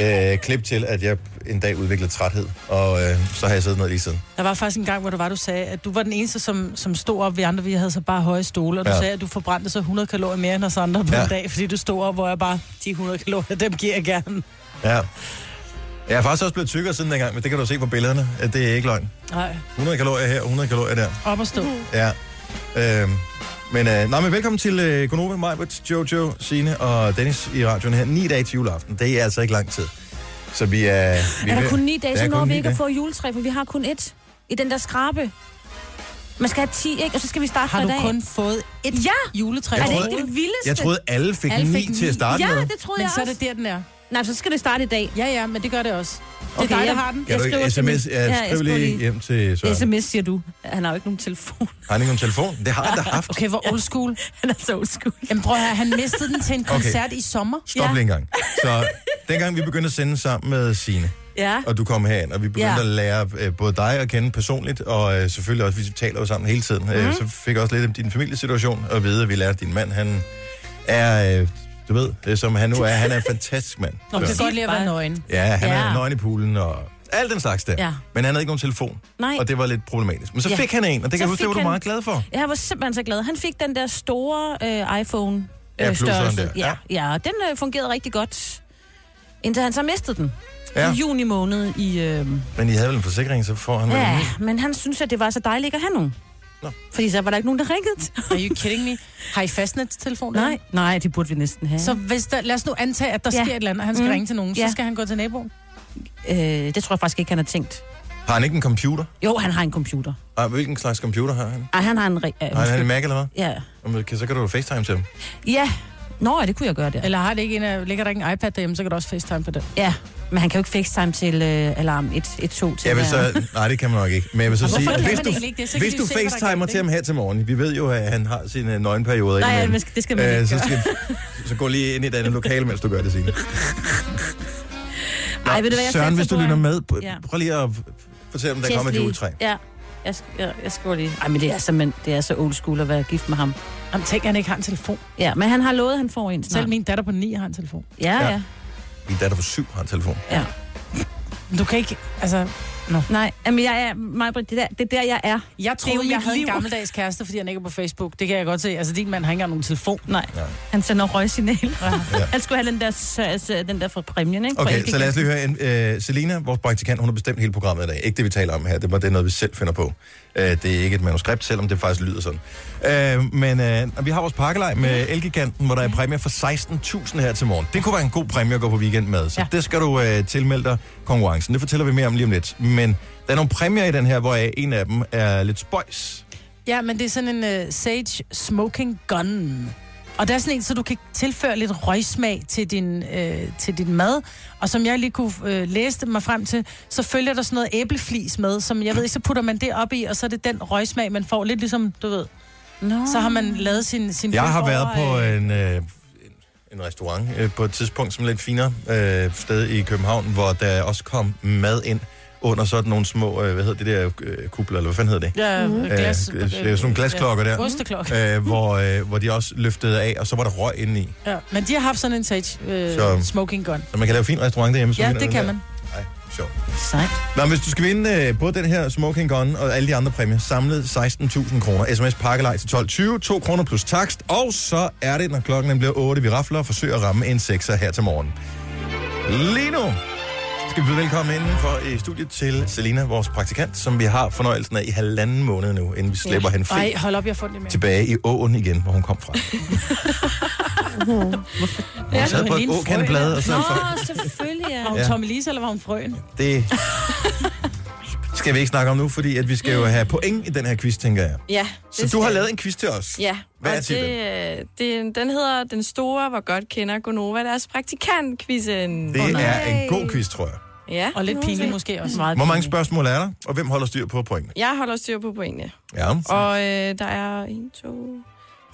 [SPEAKER 1] Øh, klip til, at jeg en dag udviklede træthed, og øh, så har jeg siddet ned lige siden.
[SPEAKER 5] Der var faktisk en gang, hvor du var, du sagde, at du var den eneste, som, som stod op. Vi andre, vi havde så bare høje stole, og du
[SPEAKER 1] Ja.
[SPEAKER 5] ja. sagde, at du forbrændte så 100 kalorier mere end os andre på
[SPEAKER 1] Ja.
[SPEAKER 5] ja. en dag, fordi du stod op, hvor jeg bare, de 100 kalorier, dem giver jeg gerne.
[SPEAKER 1] Ja. Jeg er faktisk også blevet tykkere siden dengang, men det kan du se på billederne, at det er ikke løgn.
[SPEAKER 5] Nej,
[SPEAKER 1] 100 kalorier her, 100 kalorier der.
[SPEAKER 5] op og stå.
[SPEAKER 1] Ja. Øhm, men, øh, nej, men velkommen til øh, Gonova, Majbert, Jojo, Sine og Dennis i radioen her. Ni dage til juleaften. Det er altså ikke lang tid. Så vi er... Vi
[SPEAKER 3] Er der
[SPEAKER 1] ved-
[SPEAKER 3] kun ni dage,
[SPEAKER 1] Der er
[SPEAKER 3] så når
[SPEAKER 1] kun
[SPEAKER 3] vi
[SPEAKER 1] ni
[SPEAKER 3] ikke at
[SPEAKER 1] dage.
[SPEAKER 3] få juletræ, for vi har kun et i den der skrabe. Man skal have ti, ikke? Og så skal vi starte fra
[SPEAKER 5] Har
[SPEAKER 3] i
[SPEAKER 5] du
[SPEAKER 3] dag.
[SPEAKER 5] kun fået et
[SPEAKER 3] Ja!
[SPEAKER 5] juletræ?
[SPEAKER 3] Er det
[SPEAKER 1] troede-
[SPEAKER 3] ikke det vildeste?
[SPEAKER 1] Jeg troede, alle fik
[SPEAKER 5] Alle
[SPEAKER 1] ni
[SPEAKER 5] fik
[SPEAKER 1] til at
[SPEAKER 5] ni.
[SPEAKER 1] starte
[SPEAKER 3] ja,
[SPEAKER 1] med.
[SPEAKER 3] det troede
[SPEAKER 5] Men
[SPEAKER 3] jeg
[SPEAKER 5] så er
[SPEAKER 3] også.
[SPEAKER 5] det der, den er.
[SPEAKER 3] Nej, så skal det starte i dag.
[SPEAKER 5] Ja, ja, men det gør det også. Det er
[SPEAKER 3] Okay,
[SPEAKER 5] okay, dig, der
[SPEAKER 3] jeg-
[SPEAKER 5] har den.
[SPEAKER 1] Kan du ikke
[SPEAKER 3] skriver til min-
[SPEAKER 1] sms? Ja,
[SPEAKER 3] Ja,
[SPEAKER 1] skriv
[SPEAKER 3] jeg skriver
[SPEAKER 1] lige
[SPEAKER 3] lige.
[SPEAKER 1] hjem til Søren. Har
[SPEAKER 3] SMS siger du. Han har jo ikke nogen telefon.
[SPEAKER 1] han ikke en telefon? Det har han da haft.
[SPEAKER 5] Okay, hvor old school.
[SPEAKER 3] Han er så old school.
[SPEAKER 5] Jamen prøv at høre, han mistede den til en koncert i sommer.
[SPEAKER 1] Stop lige en gang. Så dengang vi begyndte at sende sammen med Sine
[SPEAKER 3] Ja.
[SPEAKER 1] og du kom herind, og vi begyndte ja.
[SPEAKER 3] Ja.
[SPEAKER 1] at lære øh, både dig at kende personligt, og øh, selvfølgelig også, vi taler jo sammen hele tiden, øh, så fik jeg også lidt om din familiesituation, og vide, at vi lærte, at din mand, han er, øh, du ved, øh, som han nu er, han er en fantastisk mand.
[SPEAKER 5] Nå, men det
[SPEAKER 1] Søren.
[SPEAKER 5] kan godt lide at være
[SPEAKER 3] Bare-
[SPEAKER 5] nøgen.
[SPEAKER 1] Ja, han ja.
[SPEAKER 3] Ja.
[SPEAKER 1] er nøgen i poolen og alt den slags der.
[SPEAKER 3] Ja.
[SPEAKER 1] Men han havde ikke nogen telefon,
[SPEAKER 3] Nej.
[SPEAKER 1] og det var lidt problematisk. Men så
[SPEAKER 3] Ja.
[SPEAKER 1] fik han en, og det kan
[SPEAKER 3] Så
[SPEAKER 1] jeg huske, det
[SPEAKER 3] fik
[SPEAKER 1] var du
[SPEAKER 3] han-
[SPEAKER 1] meget glad for.
[SPEAKER 3] Jeg var simpelthen så glad. Han fik den der store øh, iPhone
[SPEAKER 1] Ja,
[SPEAKER 3] øh,
[SPEAKER 1] pluseren
[SPEAKER 3] størrelse.
[SPEAKER 1] der.
[SPEAKER 3] Ja, ja, og den øh, fungerede rigtig godt. Indtil han så mistede den.
[SPEAKER 1] Ja.
[SPEAKER 3] Ja. I juni måned i... Øh,
[SPEAKER 1] Men I havde vel en forsikring, så får han vel en
[SPEAKER 3] ja,
[SPEAKER 1] ny.
[SPEAKER 3] men han synes, at det var så dejligt ikke at have nogen.
[SPEAKER 1] Nå.
[SPEAKER 3] Nå. Fordi så var der ikke nogen, der ringede.
[SPEAKER 5] Are you kidding me? Har I fastnetstelefon?
[SPEAKER 3] Nej, nej, det burde vi næsten have.
[SPEAKER 5] Så hvis der, lad os nu antage, at der
[SPEAKER 3] Ja.
[SPEAKER 5] sker et eller andet, og han skal
[SPEAKER 3] Mm.
[SPEAKER 5] ringe til nogen, så
[SPEAKER 3] Ja.
[SPEAKER 5] skal han gå til naboen.
[SPEAKER 3] øh, det tror jeg faktisk ikke, han har tænkt.
[SPEAKER 1] Har han ikke en computer?
[SPEAKER 3] Jo, han har en computer.
[SPEAKER 1] Ej, hvilken slags computer har han?
[SPEAKER 3] Ej, han har en... re- Øh,
[SPEAKER 1] Har han en
[SPEAKER 3] undskyld.
[SPEAKER 1] Mac eller hvad?
[SPEAKER 3] ja.
[SPEAKER 1] Jamen, kan- Så kan du facetime til ham.
[SPEAKER 3] ja. Nå, ja, det kunne jeg gøre der.
[SPEAKER 5] Eller har det ikke en, af- ligger der ikke en iPad derhjemme, så kan du også facetime på den.
[SPEAKER 3] Ja, men han kan jo ikke facetime til øh, alarm 112. til
[SPEAKER 1] Jeg vil
[SPEAKER 3] hver-
[SPEAKER 1] så, nej, det kan man nok ikke. Men jeg vil så
[SPEAKER 5] hvorfor
[SPEAKER 1] sige,
[SPEAKER 5] kan man
[SPEAKER 1] hvis du,
[SPEAKER 5] egentlig ikke det? Så kan
[SPEAKER 1] hvis
[SPEAKER 5] de
[SPEAKER 1] du
[SPEAKER 5] jo se, hvad der
[SPEAKER 1] facetimer
[SPEAKER 5] galt,
[SPEAKER 1] til ham her til morgen, vi ved jo, at han har sine øh, nøgenperioder.
[SPEAKER 3] Nej,
[SPEAKER 1] indimellem.
[SPEAKER 3] men det skal man ikke
[SPEAKER 1] Øh, så, skal, så gå lige ind i et andet lokale, mens du gør det, Signe.
[SPEAKER 3] Ej, ved du hvad, jeg
[SPEAKER 1] Søren,
[SPEAKER 3] satser
[SPEAKER 1] hvis du
[SPEAKER 3] på,
[SPEAKER 1] lytter
[SPEAKER 3] at-
[SPEAKER 1] med, p-
[SPEAKER 3] Ja.
[SPEAKER 1] prøv lige at fortælle, om der
[SPEAKER 3] Tjek
[SPEAKER 1] kommer et
[SPEAKER 3] lige.
[SPEAKER 1] juletræ.
[SPEAKER 3] Ja, jeg, sk- jeg, jeg skriver lige. Ej, men det er, simpelthen, det er så old school at være gift med ham.
[SPEAKER 5] Jamen, tænk, han ikke har en telefon.
[SPEAKER 3] Ja, men han har lovet, at han får en snart.
[SPEAKER 5] Selv min datter på 9 har en telefon.
[SPEAKER 3] Ja,
[SPEAKER 1] Ja.
[SPEAKER 3] ja,
[SPEAKER 1] Min datter for syv har en telefon.
[SPEAKER 3] ja.
[SPEAKER 5] Men Du kan ikke, altså...
[SPEAKER 3] Nej, men jeg er, Majbrit, det, der, det er der, jeg er.
[SPEAKER 5] Jeg
[SPEAKER 3] jo
[SPEAKER 5] troede, jeg
[SPEAKER 3] mit
[SPEAKER 5] havde en
[SPEAKER 3] liv.
[SPEAKER 5] gammeldags kæreste, fordi han ikke er på Facebook. Det kan jeg godt se. Altså, din mand har ikke engang nogen telefon.
[SPEAKER 3] Nej,
[SPEAKER 1] Nej.
[SPEAKER 3] han sender røgsignaler. Ja. Han skulle have den der, så- så- den der fra præmien, ikke? Fra
[SPEAKER 1] Okay,
[SPEAKER 3] LG.
[SPEAKER 1] så lad os lige høre. en- Øh, Selina, vores praktikant, hun har bestemt hele programmet i dag. Ikke det, vi taler om her. Det var det, er noget, vi selv finder på. Øh, det er ikke et manuskript, selvom det faktisk lyder sådan. Øh, men øh, vi har vores pakkelej med Elgiganten, hvor der er præmier for 16.000 her til morgen. Det kunne være en god præmie at gå på weekend med. Så ja.
[SPEAKER 5] Ja.
[SPEAKER 1] det skal du øh, tilmelde dig konkurrencen. Det fortæller vi mere om lige om lidt. Men der er nogle præmier i den her, hvor en af dem er lidt spøjs.
[SPEAKER 5] Ja, men det er sådan en uh, Sage Smoking Gun. Og der er sådan en, så du kan tilføre lidt røgsmag til din, øh, til din mad. Og som jeg lige kunne øh, læse det mig frem til, så følger der sådan noget æbleflis med, som jeg ved ikke, så putter man det op i, og så er det den røgsmag, man får. Lidt ligesom, du ved,
[SPEAKER 3] Nå.
[SPEAKER 5] så har man lavet sin... sin
[SPEAKER 1] Jeg
[SPEAKER 5] bøf
[SPEAKER 1] har været
[SPEAKER 5] over,
[SPEAKER 1] på
[SPEAKER 5] øh,
[SPEAKER 1] en, øh, en- en restaurant øh, på et tidspunkt, som lidt finere øh, sted i København, hvor der også kom mad ind under sådan nogle små, øh, hvad hedder det der, øh, kupler, eller hvad fanden hedder det?
[SPEAKER 5] Ja, mm.
[SPEAKER 1] Øh,
[SPEAKER 5] glas,
[SPEAKER 1] det er sådan nogle glasklokker der.
[SPEAKER 5] Ja, osteklokke.
[SPEAKER 1] Øh, hvor, øh, hvor de også løftede af, og så var der røg inde i.
[SPEAKER 5] Ja, men de har haft sådan en Sage
[SPEAKER 1] Så-
[SPEAKER 5] øh, Smoking Gun.
[SPEAKER 1] Så man kan lave fin restaurant derhjemme. så
[SPEAKER 5] Ja,
[SPEAKER 1] finder
[SPEAKER 5] det
[SPEAKER 1] den
[SPEAKER 5] kan
[SPEAKER 1] der.
[SPEAKER 5] man.
[SPEAKER 1] Ej, sjovt.
[SPEAKER 3] Sejt.
[SPEAKER 1] Nå, men hvis du skal vinde øh, både den her Smoking Gun og alle de andre præmier, samlet 16.000 kroner. SMS pakkelej til 12.20, 2 kroner plus takst. Og så er det, når klokken den bliver 8, vi rafler og forsøger at ramme en 6'er her til morgen. Lige nu skal vi byde velkommen indenfor i studiet til Selina, vores praktikant, som vi har fornøjelsen af i halvanden måned nu, inden vi slipper ja. hende fri
[SPEAKER 5] Ej, hold op, jeg har fundet det mere.
[SPEAKER 1] tilbage i åen igen, hvor hun kom fra. hun sad på et
[SPEAKER 5] Lille
[SPEAKER 1] åkandblad, og så...
[SPEAKER 3] Nå, selvfølgelig, ja.
[SPEAKER 5] Var hun
[SPEAKER 1] Ja.
[SPEAKER 5] ja. Tommy Lise, eller var hun frøen?
[SPEAKER 1] Det skal vi ikke snakke om nu, fordi at vi skal jo have point i den her quiz, tænker jeg.
[SPEAKER 9] Ja.
[SPEAKER 1] Så du har lavet en quiz til os.
[SPEAKER 9] Ja,
[SPEAKER 1] Hvad er
[SPEAKER 9] og
[SPEAKER 1] titlen?
[SPEAKER 9] det, øh, det, den hedder Den Store, hvor godt kender Gonova deres praktikant -quizzen.
[SPEAKER 1] Det er en god quiz, tror jeg.
[SPEAKER 9] Ja.
[SPEAKER 5] Og lidt
[SPEAKER 9] nu må vi
[SPEAKER 5] pinligt
[SPEAKER 9] se.
[SPEAKER 5] måske også.
[SPEAKER 3] Meget
[SPEAKER 1] Hvor mange
[SPEAKER 3] pinligt.
[SPEAKER 1] spørgsmål er der, og hvem holder styr på pointene?
[SPEAKER 9] Jeg holder styr på pointene.
[SPEAKER 1] Ja,
[SPEAKER 9] Og øh, der er 1, 2,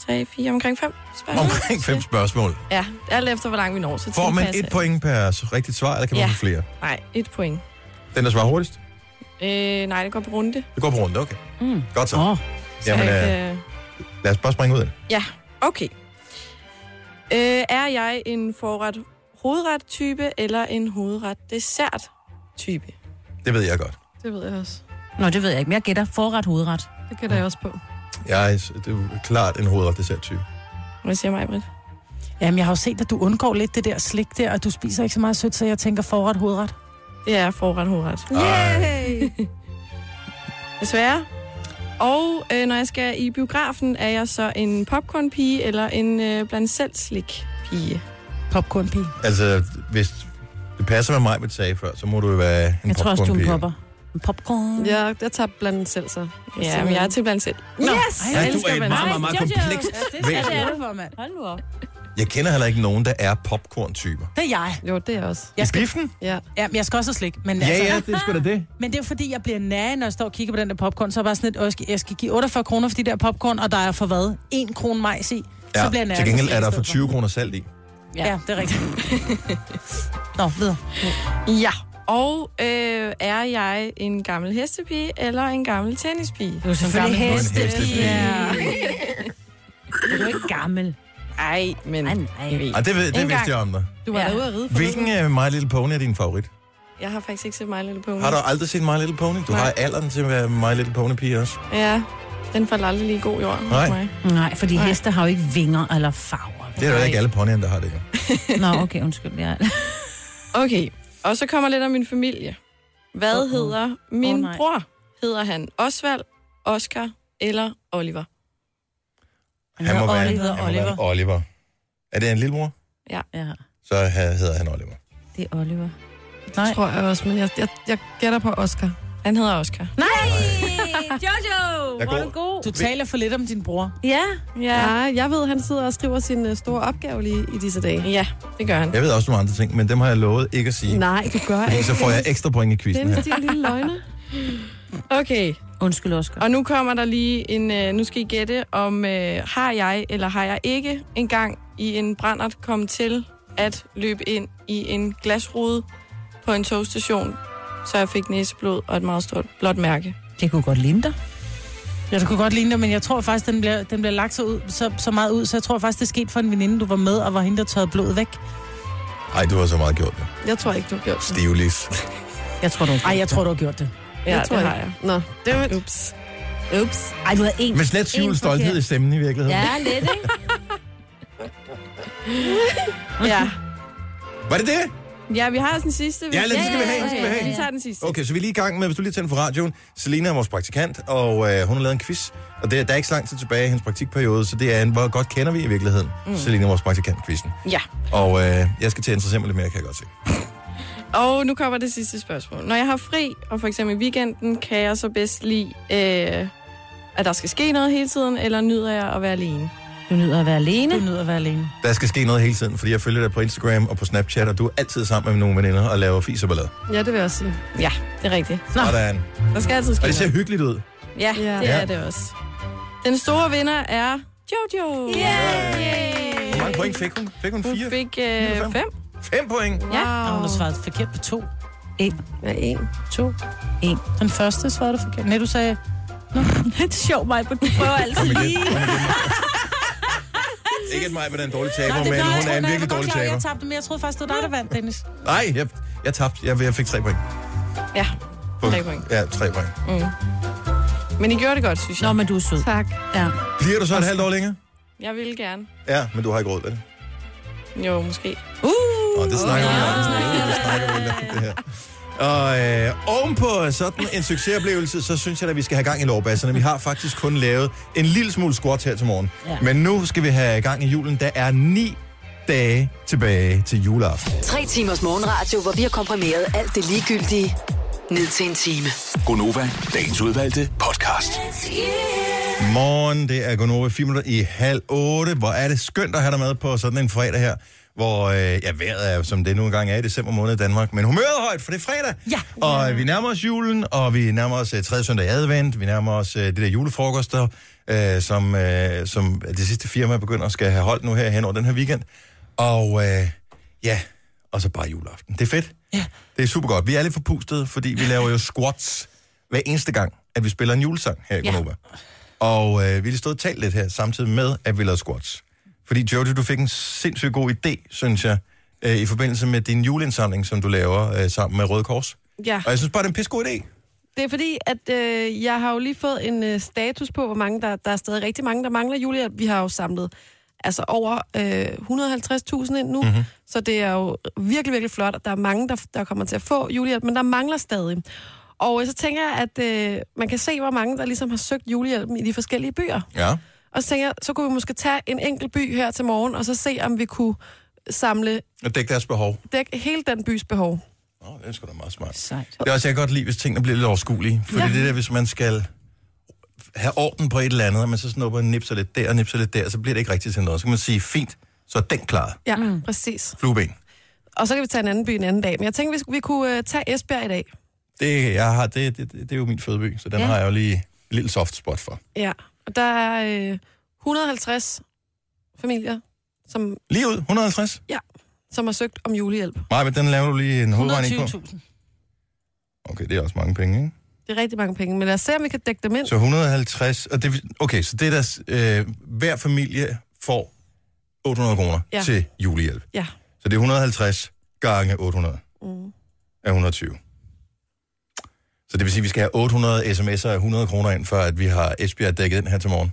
[SPEAKER 9] 3, 4, omkring 5 spørgsmål.
[SPEAKER 1] omkring fem spørgsmål.
[SPEAKER 9] Ja, alt efter, hvor langt vi når. Så
[SPEAKER 1] Får man
[SPEAKER 9] tilpasser
[SPEAKER 1] et
[SPEAKER 9] jeg.
[SPEAKER 1] point per rigtigt svar, eller kan man
[SPEAKER 9] Ja.
[SPEAKER 1] få flere?
[SPEAKER 9] Nej, et point.
[SPEAKER 1] Den, der svarer hurtigst,
[SPEAKER 9] Øh, nej, det går på runde.
[SPEAKER 1] det går på runde, okay.
[SPEAKER 3] Mm.
[SPEAKER 1] Godt så.
[SPEAKER 3] Åh,
[SPEAKER 9] Så
[SPEAKER 1] Jamen, øh,
[SPEAKER 9] jeg, øh,
[SPEAKER 1] lad os bare springe ud af det.
[SPEAKER 9] okay. Øh, er jeg en forret hovedret-type eller en hovedret-dessert-type?
[SPEAKER 1] Det ved jeg godt.
[SPEAKER 4] Det ved jeg også.
[SPEAKER 3] Nå, det ved jeg ikke, men jeg gætter forret, hovedret.
[SPEAKER 4] Det gætter jeg også på.
[SPEAKER 1] Jeg er, det er jo klart en hovedret dessert-type.
[SPEAKER 9] Hvad siger mig, Britt?
[SPEAKER 5] Jamen, jeg har jo set, at du undgår lidt det der slik der, og du spiser ikke så meget sødt, så jeg tænker forret, hovedret.
[SPEAKER 9] Det er forret, hovedret.
[SPEAKER 1] Yay!
[SPEAKER 9] Desværre. Og øh, når jeg skal i biografen, er jeg så en popcornpige eller en øh, blandt selv slik pige?
[SPEAKER 5] Popcornpige.
[SPEAKER 1] Altså, hvis det passer med mig, med sagde før, så må du jo være en
[SPEAKER 3] Jeg tror også, du er en
[SPEAKER 1] popcornpige.
[SPEAKER 3] popper. En popcorn.
[SPEAKER 4] Ja, jeg tager blandt andet selv så.
[SPEAKER 9] Ja, men jeg er til blandt selv. Yes!
[SPEAKER 1] Ja,
[SPEAKER 9] Jeg
[SPEAKER 1] du er
[SPEAKER 9] elsker
[SPEAKER 1] et
[SPEAKER 9] blandt
[SPEAKER 1] meget, meget,
[SPEAKER 9] selv.
[SPEAKER 1] meget
[SPEAKER 3] Jojo.
[SPEAKER 1] komplekst væsen.
[SPEAKER 5] er det for, mand.
[SPEAKER 3] Hold nu op.
[SPEAKER 1] Jeg kender heller ikke nogen, der er popcorn-typer.
[SPEAKER 5] Det er jeg.
[SPEAKER 4] Jo, det er jeg også.
[SPEAKER 1] I
[SPEAKER 5] Jeg skal,
[SPEAKER 1] biffen?
[SPEAKER 4] Ja.
[SPEAKER 5] jamen, jeg skal også have slik. Men,
[SPEAKER 1] Ja,
[SPEAKER 5] altså,
[SPEAKER 1] ja, det er sgu da det.
[SPEAKER 5] men det er jo fordi, jeg bliver nære, når jeg står og kigger på den der popcorn. Så er jeg bare sådan lidt, "Åh, jeg skal, jeg skal give 48 kroner for de der popcorn, og der er for hvad? 1 krone majs i.
[SPEAKER 1] Ja,
[SPEAKER 5] så bliver jeg nære.
[SPEAKER 1] til gengæld
[SPEAKER 5] så skal
[SPEAKER 1] er der
[SPEAKER 5] jeg
[SPEAKER 1] for
[SPEAKER 5] i stedet
[SPEAKER 1] 20 kroner salt i.
[SPEAKER 5] Ja. ja, det er rigtigt. Nå, videre.
[SPEAKER 9] Ja, og øh, er jeg en gammel hestepige eller en gammel tennispige?
[SPEAKER 3] Du er som gammel
[SPEAKER 1] Du er en
[SPEAKER 3] hest.
[SPEAKER 1] hestepige.
[SPEAKER 3] Du er ikke gammel.
[SPEAKER 9] Ej, men
[SPEAKER 3] Nej, nej.
[SPEAKER 9] jeg ved.
[SPEAKER 1] Ah, det, ved, det
[SPEAKER 9] En
[SPEAKER 1] vidste
[SPEAKER 9] gang.
[SPEAKER 1] jeg om dig.
[SPEAKER 4] Du var
[SPEAKER 9] Ja.
[SPEAKER 4] ja. derude at ride for
[SPEAKER 1] Hvilken uh, My Little Pony er din favorit?
[SPEAKER 9] Jeg har faktisk ikke set mig lille på.
[SPEAKER 1] Har du aldrig set My Little Pony? Du
[SPEAKER 9] Nej.
[SPEAKER 1] har alderen til at være My Little Pony-pige også.
[SPEAKER 9] Ja, den faldt aldrig lige i god jord
[SPEAKER 1] Nej.
[SPEAKER 9] hos mig.
[SPEAKER 3] Nej, fordi
[SPEAKER 9] Nej.
[SPEAKER 3] heste har jo ikke vinger eller farver.
[SPEAKER 1] Det er jo
[SPEAKER 9] Nej.
[SPEAKER 1] ikke alle ponyerne, der har det. jo.
[SPEAKER 3] Nå, okay, undskyld. Jeg...
[SPEAKER 9] Okay, og så kommer lidt om min familie. Hvad
[SPEAKER 3] Uh-oh.
[SPEAKER 9] hedder min
[SPEAKER 3] nej.
[SPEAKER 9] bror? Hedder han Osvald, Oscar eller Oliver?
[SPEAKER 1] Han må være,
[SPEAKER 3] Oliver,
[SPEAKER 1] han må
[SPEAKER 3] Oliver.
[SPEAKER 1] være Oliver. Er det en lillebror?
[SPEAKER 3] Ja,
[SPEAKER 1] Så ha- hedder han Oliver.
[SPEAKER 3] det er Oliver.
[SPEAKER 4] Det tror jeg også, men jeg, jeg, jeg gætter på Oscar.
[SPEAKER 9] Han hedder Oscar.
[SPEAKER 3] Nej! Jojo!
[SPEAKER 1] Der
[SPEAKER 3] Hvor er
[SPEAKER 1] går-
[SPEAKER 3] du god.
[SPEAKER 5] Du taler for lidt om din bror.
[SPEAKER 3] Ja.
[SPEAKER 9] Ja.
[SPEAKER 4] Ja, jeg ved, han sidder og skriver sin øh, store opgave lige i disse dage.
[SPEAKER 9] Ja, det gør han.
[SPEAKER 1] Jeg ved også nogle andre ting, men dem har jeg lovet ikke at sige.
[SPEAKER 4] Nej, du gør
[SPEAKER 1] Fordi
[SPEAKER 4] ikke.
[SPEAKER 1] så får jeg ekstra point i quizzen
[SPEAKER 4] Dennis,
[SPEAKER 1] her.
[SPEAKER 4] din lille løgne.
[SPEAKER 9] Okay,
[SPEAKER 3] Undskyld, Oscar.
[SPEAKER 9] og nu kommer der lige en... Øh, nu skal I gætte, om øh, har jeg eller har jeg ikke engang i en brændert kommet til at løbe ind i en glasrude på en togstation, så jeg fik næseblod og et meget stort blåt mærke.
[SPEAKER 3] Det kunne godt ligne dig.
[SPEAKER 5] Ja, det kunne godt ligne dig, men jeg tror faktisk, den bliver, den bliver lagt så, ud, så, så meget ud, så jeg tror faktisk, det skete for en veninde, du var med, og var hende, der tørrede blodet væk.
[SPEAKER 1] Ej, du har så meget gjort det.
[SPEAKER 4] Jeg tror ikke, du har gjort det.
[SPEAKER 1] Stivlis.
[SPEAKER 3] Jeg tror, du
[SPEAKER 5] Ej, jeg tror, du har gjort det.
[SPEAKER 9] Ja,
[SPEAKER 4] jeg tror
[SPEAKER 9] det
[SPEAKER 4] ikke.
[SPEAKER 9] har jeg.
[SPEAKER 4] Nå, det var...
[SPEAKER 9] Ups.
[SPEAKER 3] Ups. Ej, du havde en.
[SPEAKER 1] Men slet
[SPEAKER 3] en
[SPEAKER 1] tvivl stolthed i
[SPEAKER 3] forkert.
[SPEAKER 1] stemmen i virkeligheden.
[SPEAKER 3] Ja, lidt, ikke?
[SPEAKER 9] Ja.
[SPEAKER 1] Var det det?
[SPEAKER 9] ja, vi har også den sidste. hvis-
[SPEAKER 1] Ja, lad den skal vi have,
[SPEAKER 9] ja,
[SPEAKER 1] den skal vi
[SPEAKER 9] ja,
[SPEAKER 1] have.
[SPEAKER 9] Vi tager den sidste.
[SPEAKER 1] Okay, så vi er lige i gang med, hvis du lige tænder for radioen. Selina er vores praktikant, og øh, hun har lavet en quiz. Og det, der er ikke så lang tid tilbage i hendes praktikperiode, så det er en, hvor godt kender vi i virkeligheden. Mm. Selina er vores praktikant-quizzen.
[SPEAKER 9] Ja.
[SPEAKER 1] Og øh, jeg skal til at interessere mig lidt mere, kan jeg godt se.
[SPEAKER 9] Og nu kommer det sidste spørgsmål. Når jeg har fri, og for eksempel i weekenden, kan jeg så bedst lide, øh, at der skal ske noget hele tiden, eller nyder jeg at være alene?
[SPEAKER 3] Du nyder at være alene.
[SPEAKER 5] Du nyder at være alene.
[SPEAKER 1] Der skal ske noget hele tiden, fordi jeg følger dig på Instagram og på Snapchat, og du er altid sammen med nogle veninder og laver fis og ballade.
[SPEAKER 4] Ja, det vil jeg også sige.
[SPEAKER 9] Ja, det er rigtigt.
[SPEAKER 1] Sådan.
[SPEAKER 9] Der skal altid ske
[SPEAKER 1] Og det ser
[SPEAKER 9] noget.
[SPEAKER 1] hyggeligt ud.
[SPEAKER 9] Ja,
[SPEAKER 4] Ja.
[SPEAKER 9] det er det også. Den store vinder er Jojo.
[SPEAKER 1] Hvor mange point fik hun? Fik hun
[SPEAKER 9] Hun
[SPEAKER 1] fire?
[SPEAKER 9] fik
[SPEAKER 1] Fire, fem.
[SPEAKER 9] øh, fem.
[SPEAKER 1] Fem point.
[SPEAKER 9] Ja.
[SPEAKER 4] Wow.
[SPEAKER 5] Og hun har svaret forkert på to.
[SPEAKER 4] Ja, en.
[SPEAKER 5] To.
[SPEAKER 3] En.
[SPEAKER 5] Den første svarede du forkert. Nej, du sagde... Nå, det er sjovt, mig, men du prøver altid
[SPEAKER 1] Kom igen. Kom igen. Ikke at mig med den dårlige taber,
[SPEAKER 5] Nej,
[SPEAKER 1] men
[SPEAKER 5] det klart,
[SPEAKER 1] hun er en
[SPEAKER 5] jeg var
[SPEAKER 1] virkelig
[SPEAKER 5] godt
[SPEAKER 1] dårlig
[SPEAKER 5] klar, over,
[SPEAKER 1] taber.
[SPEAKER 5] Jeg tabte, men jeg troede faktisk, det var dig, der vandt, Dennis.
[SPEAKER 1] Nej, jeg, jeg tabte. Jeg, jeg fik tre point.
[SPEAKER 9] Ja,
[SPEAKER 1] På-
[SPEAKER 9] tre point.
[SPEAKER 1] Ja, tre point.
[SPEAKER 9] Men I gjorde det godt, synes jeg.
[SPEAKER 3] Nå, men du er sød.
[SPEAKER 9] tak.
[SPEAKER 3] Ja.
[SPEAKER 1] Bliver du så et halvt år længere?
[SPEAKER 9] Jeg ville gerne.
[SPEAKER 1] Ja, men du har ikke råd, vel?
[SPEAKER 9] Jo, måske.
[SPEAKER 1] Og det snakker vi om. Det snakker vi lidt om, det her. Og øh, ovenpå sådan en succesoplevelse, så synes jeg, at vi skal have gang i lovbasserne. Vi har faktisk kun lavet en lille smule squat her til morgen. Ja.
[SPEAKER 3] Ja.
[SPEAKER 1] Men nu skal vi have gang i julen. Der er ni dage tilbage til juleaften.
[SPEAKER 7] Tre timers morgenradio, hvor vi har komprimeret alt det ligegyldige ned til en time.
[SPEAKER 6] Gonova, dagens udvalgte podcast.
[SPEAKER 1] Morgen, det er Gonova 4 minutter i halv 8. Hvor er det skønt at have dig med på sådan en fredag her, hvor øh, ja, vejret er, som det nu engang er i december måned i Danmark, men humøret er højt, for det er fredag. Ja. Og øh, vi nærmer os julen, og vi nærmer os øh, 3. søndag i advent, vi nærmer os øh, det der julefrokoster, øh, som, øh, som det sidste firma begynder at skal have holdt nu her hen over den her weekend. Og øh, ja, og så bare juleaften. Det er fedt. Ja. Det er super godt. Vi er lidt forpustede, fordi vi laver jo squats hver eneste gang, at vi spiller en julesang her i Gonova. Og øh, vi har lige stået og talt lidt her, samtidig med, at vi lavede squats. Fordi Jojo, du fik en sindssygt god idé, synes jeg, øh, i forbindelse med din juleindsamling, som du laver øh, sammen med Røde Kors.
[SPEAKER 4] Ja.
[SPEAKER 1] Og jeg synes bare, det er en pissegod idé.
[SPEAKER 4] Det er fordi, at øh, jeg har jo lige fået en øh, status på, hvor mange der, der er stadig rigtig mange, der mangler julehjælp. Vi har jo samlet altså over øh, 150.000 ind nu, mm-hmm. så det er jo virkelig, virkelig flot, at der er mange, der, der kommer til at få julehjælp, men der mangler stadig. Og øh, så tænker jeg, at øh, man kan se, hvor mange der ligesom har søgt julehjælpen i de forskellige byer.
[SPEAKER 1] Ja.
[SPEAKER 4] Og så tænker jeg, så kunne vi måske tage en enkelt by her til morgen, og så se, om vi kunne samle
[SPEAKER 1] Og dække deres behov.
[SPEAKER 4] dæk, hele den bys behov.
[SPEAKER 1] Nå, det er sgu da meget smart.
[SPEAKER 3] Sejt.
[SPEAKER 1] Det er også, jeg kan godt lide, hvis tingene bliver lidt overskuelige. Fordi ja. det der, hvis man skal have orden på et eller andet, og man så snupper og nipser lidt der og nipser lidt der, så bliver det ikke rigtigt til noget. Så kan man sige, fint, så er den klar.
[SPEAKER 4] Ja, mm. præcis.
[SPEAKER 1] Flueben.
[SPEAKER 4] Og så kan vi tage en anden by en anden dag. Men jeg tænkte, vi, skulle- vi kunne øh, tage Esbjerg i dag.
[SPEAKER 1] Det, jeg har, det, det, det, det er jo min fødeby, så den ja.
[SPEAKER 3] Ja.
[SPEAKER 1] har jeg jo lige et lille soft spot for.
[SPEAKER 4] Ja, og der er øh, 150 familier, som,
[SPEAKER 1] Lige ud, 150.
[SPEAKER 4] som har søgt om julehjælp.
[SPEAKER 1] Maja, men den laver du lige en hovedregning på.
[SPEAKER 5] 120.000.
[SPEAKER 1] Okay, det er også mange penge, ikke?
[SPEAKER 4] Det er rigtig mange penge, men lad os se, om vi kan dække dem ind.
[SPEAKER 1] Så 150, og det, vil- okay, så det er deres, øh, hver familie får 800 kroner ja.
[SPEAKER 4] Ja.
[SPEAKER 1] til julehjælp.
[SPEAKER 4] Ja.
[SPEAKER 1] Så det er 150 gange 800
[SPEAKER 4] Mm.
[SPEAKER 1] er 120. Så det vil sige, at vi skal have 800 sms'er af 100 kroner ind, før at vi har Esbjerg dækket ind her til morgen.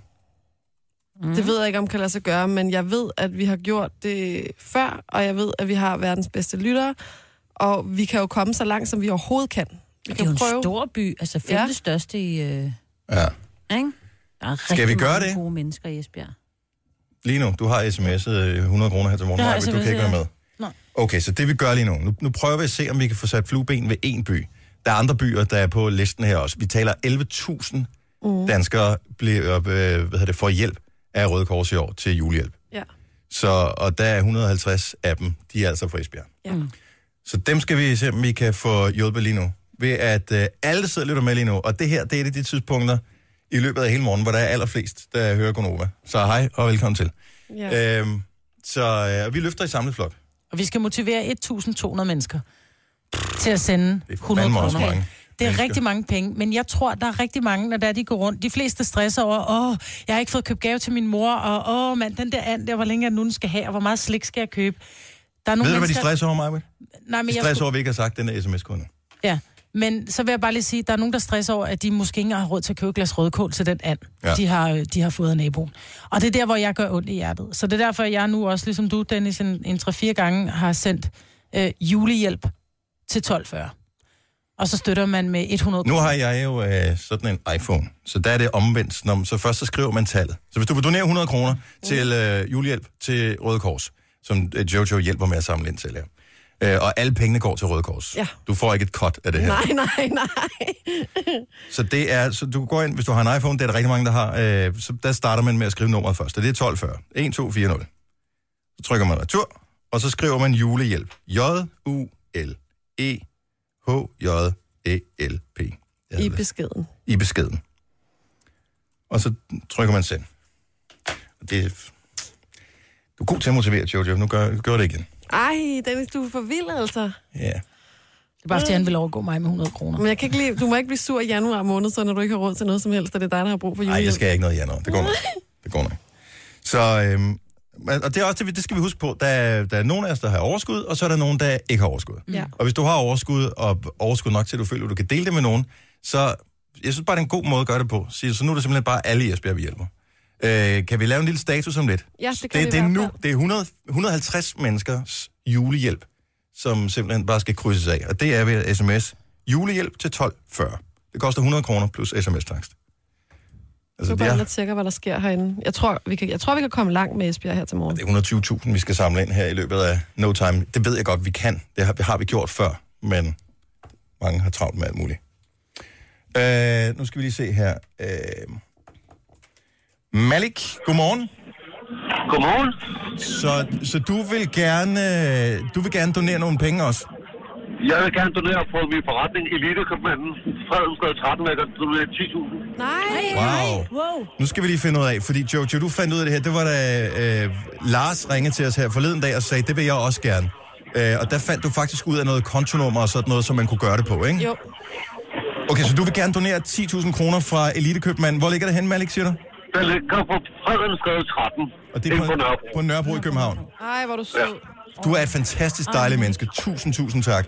[SPEAKER 3] Mm.
[SPEAKER 4] Det ved jeg ikke, om kan lade sig gøre, men jeg ved, at vi har gjort det før, og jeg ved, at vi har verdens bedste lyttere, og vi kan jo komme så langt, som vi overhovedet kan. Vi
[SPEAKER 3] Det er jo
[SPEAKER 4] kan
[SPEAKER 3] en stor by, altså femte
[SPEAKER 4] Ja.
[SPEAKER 3] største i... Øh,
[SPEAKER 1] Ja.
[SPEAKER 3] ikke? Der er
[SPEAKER 1] Skal
[SPEAKER 3] rigtig
[SPEAKER 1] vi gøre
[SPEAKER 3] mange
[SPEAKER 1] det?
[SPEAKER 3] gode mennesker i Esbjerg.
[SPEAKER 1] Lige nu, du har sms'et øh, 100 kroner her til morgen,
[SPEAKER 5] Jeg har
[SPEAKER 1] Maja, men du kan
[SPEAKER 5] sms'et,
[SPEAKER 1] ikke være
[SPEAKER 5] ja.
[SPEAKER 1] med.
[SPEAKER 5] Nej.
[SPEAKER 1] Okay, så det vi gør lige nu, nu, nu prøver vi at se, om vi kan få sat flueben ved en by. Der er andre byer, der er på listen her også. Vi taler
[SPEAKER 5] Mm.
[SPEAKER 1] 11.000 danskere bliver, øh, hvad hedder det, får hjælp af Røde Kors i år til julehjælp.
[SPEAKER 4] Ja.
[SPEAKER 1] Så, og der er 150 af dem, de er altså fra Esbjerg.
[SPEAKER 4] Ja. Mm.
[SPEAKER 1] Så dem skal vi se, om vi kan få hjulpet lige nu. Ved at øh, alle der sidder og lytter med lige nu, og det her, det er et af de tidspunkter i løbet af hele morgen, hvor der er allerflest, der hører Gonova. Så hej og velkommen til.
[SPEAKER 4] Ja.
[SPEAKER 1] Ja. Øhm, så øh, vi løfter i samlet flok.
[SPEAKER 5] Og vi skal motivere 1.200 mennesker til at sende
[SPEAKER 1] Det er
[SPEAKER 5] 100
[SPEAKER 1] fandme også
[SPEAKER 5] kroner.
[SPEAKER 1] mange.
[SPEAKER 5] Det er
[SPEAKER 1] mennesker.
[SPEAKER 5] rigtig mange penge, men jeg tror, der er rigtig mange, når der de går rundt. De fleste stresser over, åh, jeg har ikke fået købt gave til min mor, og åh mand, den der and der, hvor længe jeg nu den skal have, og hvor meget slik skal jeg købe. Der er
[SPEAKER 1] Ved
[SPEAKER 5] nogle
[SPEAKER 1] du, hvad de
[SPEAKER 5] mennesker...
[SPEAKER 1] stresser over mig? Britt?
[SPEAKER 5] Nej, men
[SPEAKER 1] De
[SPEAKER 5] jeg
[SPEAKER 1] stresser over, at vi ikke har sagt den der sms-kunde.
[SPEAKER 5] Ja, men så vil jeg bare lige sige, at der er nogen, der stresser over, at de måske ikke engang har råd til at købe et glas rødkål til den and,
[SPEAKER 1] Ja.
[SPEAKER 5] ja. de, har, de har fået af naboen. Og det er der, hvor jeg gør ondt i hjertet. Så det er derfor, at jeg nu også, ligesom du, Dennis, en, en 3-4 gange har sendt øh, julehjælp til 1240. Og så støtter man med 100
[SPEAKER 1] Nu har jeg jo øh, sådan en iPhone, så der er det omvendt. Når, man- så først så skriver man tallet. Så hvis du vil donere 100 kroner
[SPEAKER 4] Mm.
[SPEAKER 1] til øh, julehjælp til Røde Kors, som øh, Jojo hjælper med at samle ind til her, øh, og alle pengene går til Røde Kors.
[SPEAKER 4] Ja.
[SPEAKER 1] Du får ikke et cut af det her.
[SPEAKER 4] Nej, nej, nej.
[SPEAKER 1] Så det er, så du går ind, hvis du har en iPhone, det er der rigtig mange, der har, øh, så der starter man med at skrive nummeret først, og det er 1240. 1240. Så trykker man retur, og så skriver man julehjælp. J-U-L-E-H-J-E-L-P. Jeg
[SPEAKER 4] I
[SPEAKER 1] hedder det.
[SPEAKER 4] beskeden.
[SPEAKER 1] I beskeden. Og så trykker man send. Og det, du er god til at motivere, Jojo. Nu gør, gør det igen.
[SPEAKER 4] Ej, Dennis, du er for vild, altså.
[SPEAKER 1] Ja.
[SPEAKER 5] Det er bare, fordi han vil overgå mig med 100 kroner.
[SPEAKER 4] Men jeg kan ikke lide, du må ikke blive sur i januar måned, så når du ikke har råd til noget som helst, og det er dig, der har brug for julehjælp.
[SPEAKER 1] Nej, jeg skal ikke noget i januar. Det går nok. Det går nok. Så, øhm, men- og det er også det, vi- det skal vi huske på. Der, er- der er nogen af os, der har overskud, og så er der nogen, der ikke har overskud.
[SPEAKER 4] Mm. Ja.
[SPEAKER 1] Og hvis du har overskud, og overskud nok til, at du føler, at du kan dele det med nogen, så jeg synes bare, det er en god måde at gøre det på. Sige, Så nu er det simpelthen bare alle i Esbjerg, vi hjælper. Øh, kan vi lave en lille status om lidt?
[SPEAKER 4] Ja, det kan
[SPEAKER 1] det,
[SPEAKER 4] vi
[SPEAKER 1] det
[SPEAKER 4] i
[SPEAKER 1] er
[SPEAKER 4] hvert
[SPEAKER 1] nu.
[SPEAKER 4] fald.
[SPEAKER 1] Det er 100, 150 menneskers julehjælp, som simpelthen bare skal krydses af. Og det er ved sms. Julehjælp til 1240. Det koster 100 kroner plus sms-takst.
[SPEAKER 4] Så
[SPEAKER 1] Altså, det
[SPEAKER 4] bare
[SPEAKER 1] er,
[SPEAKER 4] inde og tjekker, hvad der sker herinde. Jeg tror, vi kan, jeg tror, vi kan komme langt med Esbjerg her til morgen.
[SPEAKER 1] det er 120.000, vi skal samle ind her i løbet af no time. Det ved jeg godt, vi kan. Det har, det har vi gjort før, men mange har travlt med alt muligt. Øh, nu skal vi lige se her. Øh, Malik, godmorgen.
[SPEAKER 10] Godmorgen.
[SPEAKER 1] Så, så du vil gerne øh, du vil gerne donere nogle penge også?
[SPEAKER 10] Jeg vil gerne donere på min forretning, Elitekøbmanden, Fredensgade 13, hvor jeg kan donere 10.000.
[SPEAKER 4] Nej!
[SPEAKER 1] Wow.
[SPEAKER 5] Wow.
[SPEAKER 1] Nu skal vi lige finde ud af, fordi Jojo, du fandt ud af det her. Det var da øh, Lars ringede til os her forleden dag og sagde, det vil jeg også gerne. Øh, og der fandt du faktisk ud af noget kontonummer og sådan noget, som man kunne gøre det på, ikke?
[SPEAKER 4] Jo,
[SPEAKER 1] Okay, så du vil gerne donere 10.000 kroner fra Elitekøbmanden. Hvor ligger det hen, Malik, siger du?
[SPEAKER 10] Den ligger på Fredensgade 13,
[SPEAKER 1] Og
[SPEAKER 10] det er på Nørrebro.
[SPEAKER 1] på Nørrebro i København.
[SPEAKER 4] ej, hvor er du sød.
[SPEAKER 1] Du er et fantastisk dejligt menneske. Tusind, tusind tak.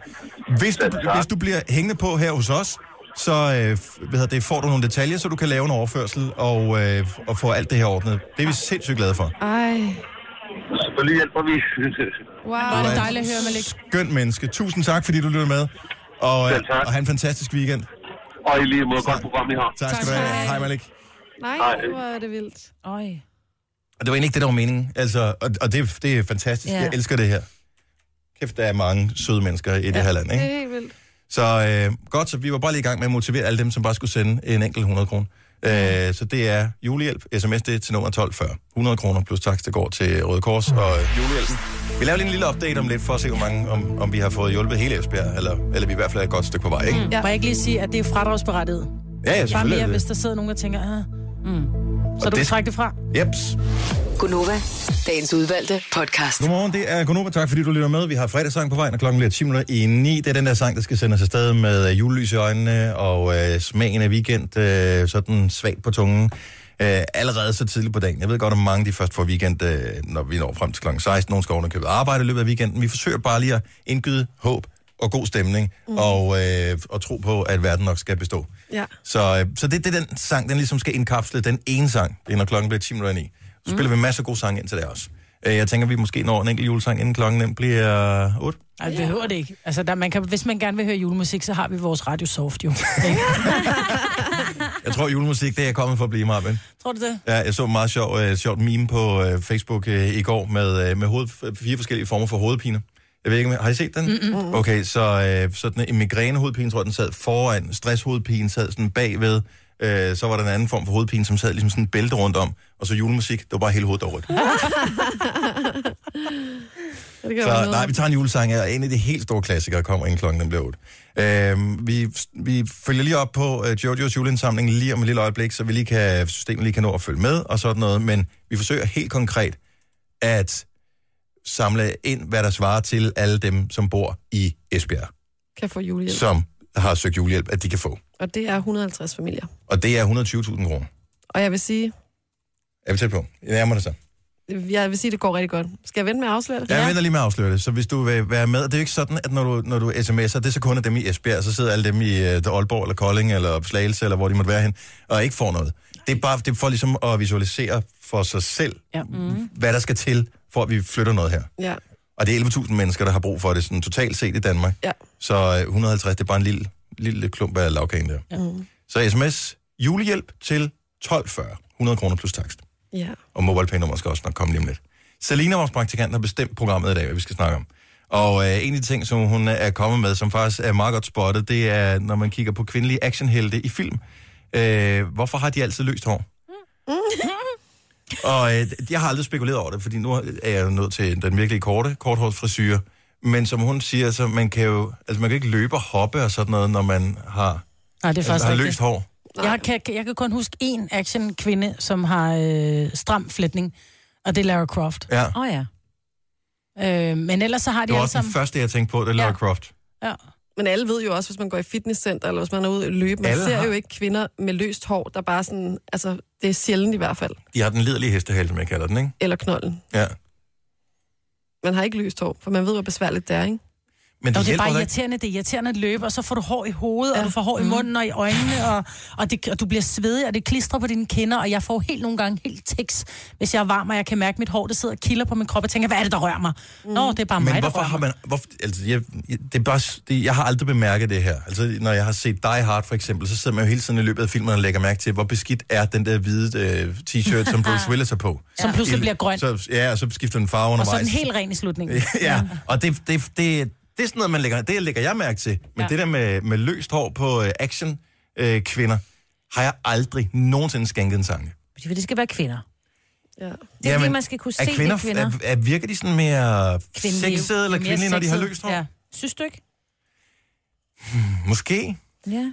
[SPEAKER 1] Hvis du, hvis du bliver hængende på her hos os, så øh, f- hvad hedder det, får du nogle detaljer, så du kan lave en overførsel og, øh, og få alt det her ordnet. Det er vi sindssygt glade for.
[SPEAKER 4] Ej,
[SPEAKER 10] Selvfølgelig hjælper vi.
[SPEAKER 4] wow.
[SPEAKER 5] Det er dejligt at høre, Malik.
[SPEAKER 1] Skønt menneske. Tusind tak, fordi du lytter med. Og, øh,
[SPEAKER 10] Selv tak.
[SPEAKER 1] og have en fantastisk weekend.
[SPEAKER 10] og i lige måde, godt program, I har.
[SPEAKER 1] Tak skal du have. Hej, Malik.
[SPEAKER 4] Nej,
[SPEAKER 10] Ej.
[SPEAKER 4] hvor er det vildt.
[SPEAKER 3] Øj.
[SPEAKER 1] Og det var egentlig ikke det, der var meningen. Altså, og, og det, det er fantastisk.
[SPEAKER 3] Ja.
[SPEAKER 1] Jeg elsker det her. Kæft, der er mange søde mennesker i det her land,
[SPEAKER 4] Det
[SPEAKER 1] ikke?
[SPEAKER 4] er helt vildt.
[SPEAKER 1] Så øh, godt, så vi var bare lige i gang med at motivere alle dem, som bare skulle sende en enkelt 100 kroner. Øh, så det er julehjælp, sms det er til nummer 1240. 100 kroner plus tak, der går til Røde Kors og øh, julehjælpen. Vi laver lige en lille update om lidt, for at se, hvor mange, om, om vi har fået hjulpet hele Esbjerg, eller, eller vi i hvert fald er et godt stykke på vej, ikke? Mm.
[SPEAKER 5] Må jeg ikke lige sige, at det er fradragsberettiget?
[SPEAKER 1] Ja, ja,
[SPEAKER 5] Bare
[SPEAKER 1] selvfølgelig.
[SPEAKER 5] mere,
[SPEAKER 1] er det
[SPEAKER 5] hvis der sidder nogen, der tænker, ah. mm. så
[SPEAKER 1] Og
[SPEAKER 5] du
[SPEAKER 1] det-
[SPEAKER 5] kan trække det fra.
[SPEAKER 1] det. Jeps.
[SPEAKER 7] Gunova, dagens udvalgte podcast.
[SPEAKER 1] Godmorgen, det er Gunova. Tak fordi du lytter med. Vi har fredagssang på vejen, og klokken bliver 10 minutter i 9. Det er den der sang, der skal sende os afsted med øh, julelys i øjnene og øh, smagen af weekend, øh, sådan svagt på tungen. Øh, allerede så tidligt på dagen. Jeg ved godt, at mange de først får weekend, øh, når vi når frem til klokken 16. Nogle skal ovenikøbet arbejde i løbet af weekenden. Vi forsøger bare lige at indgyde håb og god stemning, mm. og, øh, og tro på, at verden nok skal bestå.
[SPEAKER 4] Ja.
[SPEAKER 1] Så, øh, så det, det er den sang, den ligesom skal indkapsle den ene sang. Det er, når klokken bliver 10 minutter i ni. Så spiller mm. vi masser af gode sange indtil det også. Øh, Jeg tænker, vi måske når en enkelt julesang, inden klokken den bliver 8.
[SPEAKER 5] Ej, det behøver det ikke. Altså, der, man kan, hvis man gerne vil høre julemusik, så har vi vores Radio Soft jo.
[SPEAKER 1] Jeg tror, julemusik, det er kommet for at blive meget,
[SPEAKER 5] Tror du det?
[SPEAKER 1] Ja, jeg så en meget sjov, øh, sjovt meme på øh, Facebook øh, i går med, øh, med hoved, fire forskellige former for hovedpine. Jeg ved ikke, om- har I set den?
[SPEAKER 11] Mm-mm.
[SPEAKER 1] Okay, så øh, sådan en migrænehovedpine, tror jeg, den sad foran. Stresshovedpine sad sådan bagved. Øh, så var der en anden form for hovedpine, som sad ligesom sådan en bælte rundt om. Og så julemusik, det var bare hele hovedet, der var rødt.
[SPEAKER 4] det kan
[SPEAKER 1] Så nej, vi tager en julesang her. En af de helt store klassikere kommer inden klokken den bliver 8. Øhm, vi, vi følger lige op på øh, Jojos juleindsamling lige om et lille øjeblik, så vi lige kan, systemet lige kan nå at følge med og sådan noget. Men vi forsøger helt konkret at samle ind, hvad der svarer til alle dem, som bor i Esbjerg,
[SPEAKER 4] kan få julehjælp.
[SPEAKER 1] som har søgt julehjælp, at de kan få.
[SPEAKER 4] Og det er 150 familier.
[SPEAKER 1] Og det er 120.000 kroner.
[SPEAKER 4] Og jeg vil sige,
[SPEAKER 1] Er vi tæt på? Jeg nærmer det så.
[SPEAKER 4] jeg vil sige, det går rigtig godt. Skal jeg vente med at afsløre det?
[SPEAKER 1] Jeg venter lige med at afsløre det, så hvis du vil være med, det er jo ikke sådan, at når du, når du sms'er, det er så kun af dem i Esbjerg, så sidder alle dem i uh, Aalborg eller Kolding eller Slagelse eller hvor de måtte være hen, og ikke får noget. Det er bare det er for ligesom at visualisere for sig selv, Mm-hmm.
[SPEAKER 2] Ja. Mm.
[SPEAKER 1] hvad der skal til, for at vi flytter noget her.
[SPEAKER 4] ja.
[SPEAKER 1] Og det er 11.000 mennesker, der har brug for det, sådan totalt set i Danmark.
[SPEAKER 4] Ja.
[SPEAKER 1] Så øh, 150, det er bare en lille, lille klump af lavkagen der.
[SPEAKER 4] Ja. Mm.
[SPEAKER 1] Så sms, julehjælp til 12.40, 100 kroner plus takst.
[SPEAKER 4] ja.
[SPEAKER 1] Og MobilePay-nummer skal også nok komme lige om lidt. Selina, vores praktikant, har bestemt programmet i dag, hvad vi skal snakke om. Og øh, en af de ting, som hun er kommet med, som faktisk er meget godt spottet, det er, når man kigger på kvindelige actionhelte i film. Øh, hvorfor har de altid løst hår? Og øh, jeg har aldrig spekuleret over det, fordi nu er jeg jo nået til den virkelig korte, korthårsfrisyre. Men som hun siger, så man kan jo altså man kan ikke løbe og hoppe og sådan noget, når man har, altså,
[SPEAKER 5] Nej, det er faktisk
[SPEAKER 1] har
[SPEAKER 5] rigtigt.
[SPEAKER 1] løst hår.
[SPEAKER 5] Jeg kan, jeg kan kun huske én action-kvinde, som har øh, stram flætning, og det er Lara Croft.
[SPEAKER 1] Ja.
[SPEAKER 5] Åh oh, ja. Øh, men ellers så har
[SPEAKER 1] Det
[SPEAKER 5] de
[SPEAKER 1] var
[SPEAKER 5] alle
[SPEAKER 1] også den
[SPEAKER 5] sammen...
[SPEAKER 1] første, jeg tænkte på, det er Lara
[SPEAKER 5] Ja.
[SPEAKER 1] Croft.
[SPEAKER 5] Ja.
[SPEAKER 4] Men alle ved jo også, hvis man går i fitnesscenter, eller hvis man er ude og løbe, man
[SPEAKER 1] Alle
[SPEAKER 4] ser
[SPEAKER 1] har-
[SPEAKER 4] jo ikke kvinder med løst hår, der bare sådan, altså, det er sjældent i hvert fald,
[SPEAKER 1] De har den liderlige hestehale, som jeg kalder den, ikke?
[SPEAKER 4] eller knolden.
[SPEAKER 1] Ja.
[SPEAKER 4] Man har ikke løst hår, for man ved, hvor besværligt det er, ikke?
[SPEAKER 1] Men
[SPEAKER 5] Nå, det er bare irriterende, det er irriterende at løbe, og så får du hår i hovedet, ja. og du får hår
[SPEAKER 3] Mm.
[SPEAKER 5] i munden og i øjnene, og, og, det, og du bliver svedig, og det klistrer på dine kinder, og jeg får helt nogle gange helt tiks, hvis jeg er varm, og jeg kan mærke, at mit hår det sidder og kilder på min krop, og tænker, hvad er det, der rører mig? Mm. Nå, det er bare
[SPEAKER 1] Men
[SPEAKER 5] mig,
[SPEAKER 1] hvorfor
[SPEAKER 5] der rører
[SPEAKER 1] har
[SPEAKER 5] mig.
[SPEAKER 1] man... Hvorfor, altså, jeg, jeg- det er bare, s- det, jeg har aldrig bemærket det her. Altså, når jeg har set Die Hard for eksempel, så sidder man jo hele tiden i løbet af filmen og lægger mærke til, hvor beskidt er den der hvide øh, t-shirt, som Bruce Willis er på.
[SPEAKER 5] Som pludselig
[SPEAKER 1] I-
[SPEAKER 5] bliver grøn.
[SPEAKER 1] Så, ja, og så skifter den farve
[SPEAKER 5] Og
[SPEAKER 1] undervejs.
[SPEAKER 5] så er den helt ren i slutningen.
[SPEAKER 1] ja, og det, det, det, det er sådan noget, man lægger, det lægger jeg mærke til. Men
[SPEAKER 5] Ja.
[SPEAKER 1] ja. det der med, med løst hår på øh, action øh, kvinder, har jeg aldrig nogensinde skænket en sang.
[SPEAKER 3] Fordi det skal være kvinder.
[SPEAKER 4] Ja. Det
[SPEAKER 3] er fordi, man skal kunne se
[SPEAKER 1] er kvinder,
[SPEAKER 3] det kvinder.
[SPEAKER 1] Er, er, virker de sådan mere
[SPEAKER 3] Kvindelige.
[SPEAKER 1] sexede eller
[SPEAKER 3] Mere
[SPEAKER 1] kvindelige, når de har
[SPEAKER 3] sexede,
[SPEAKER 1] løst hår?
[SPEAKER 3] Ja. Synes du ikke?
[SPEAKER 1] Måske.
[SPEAKER 3] Ja.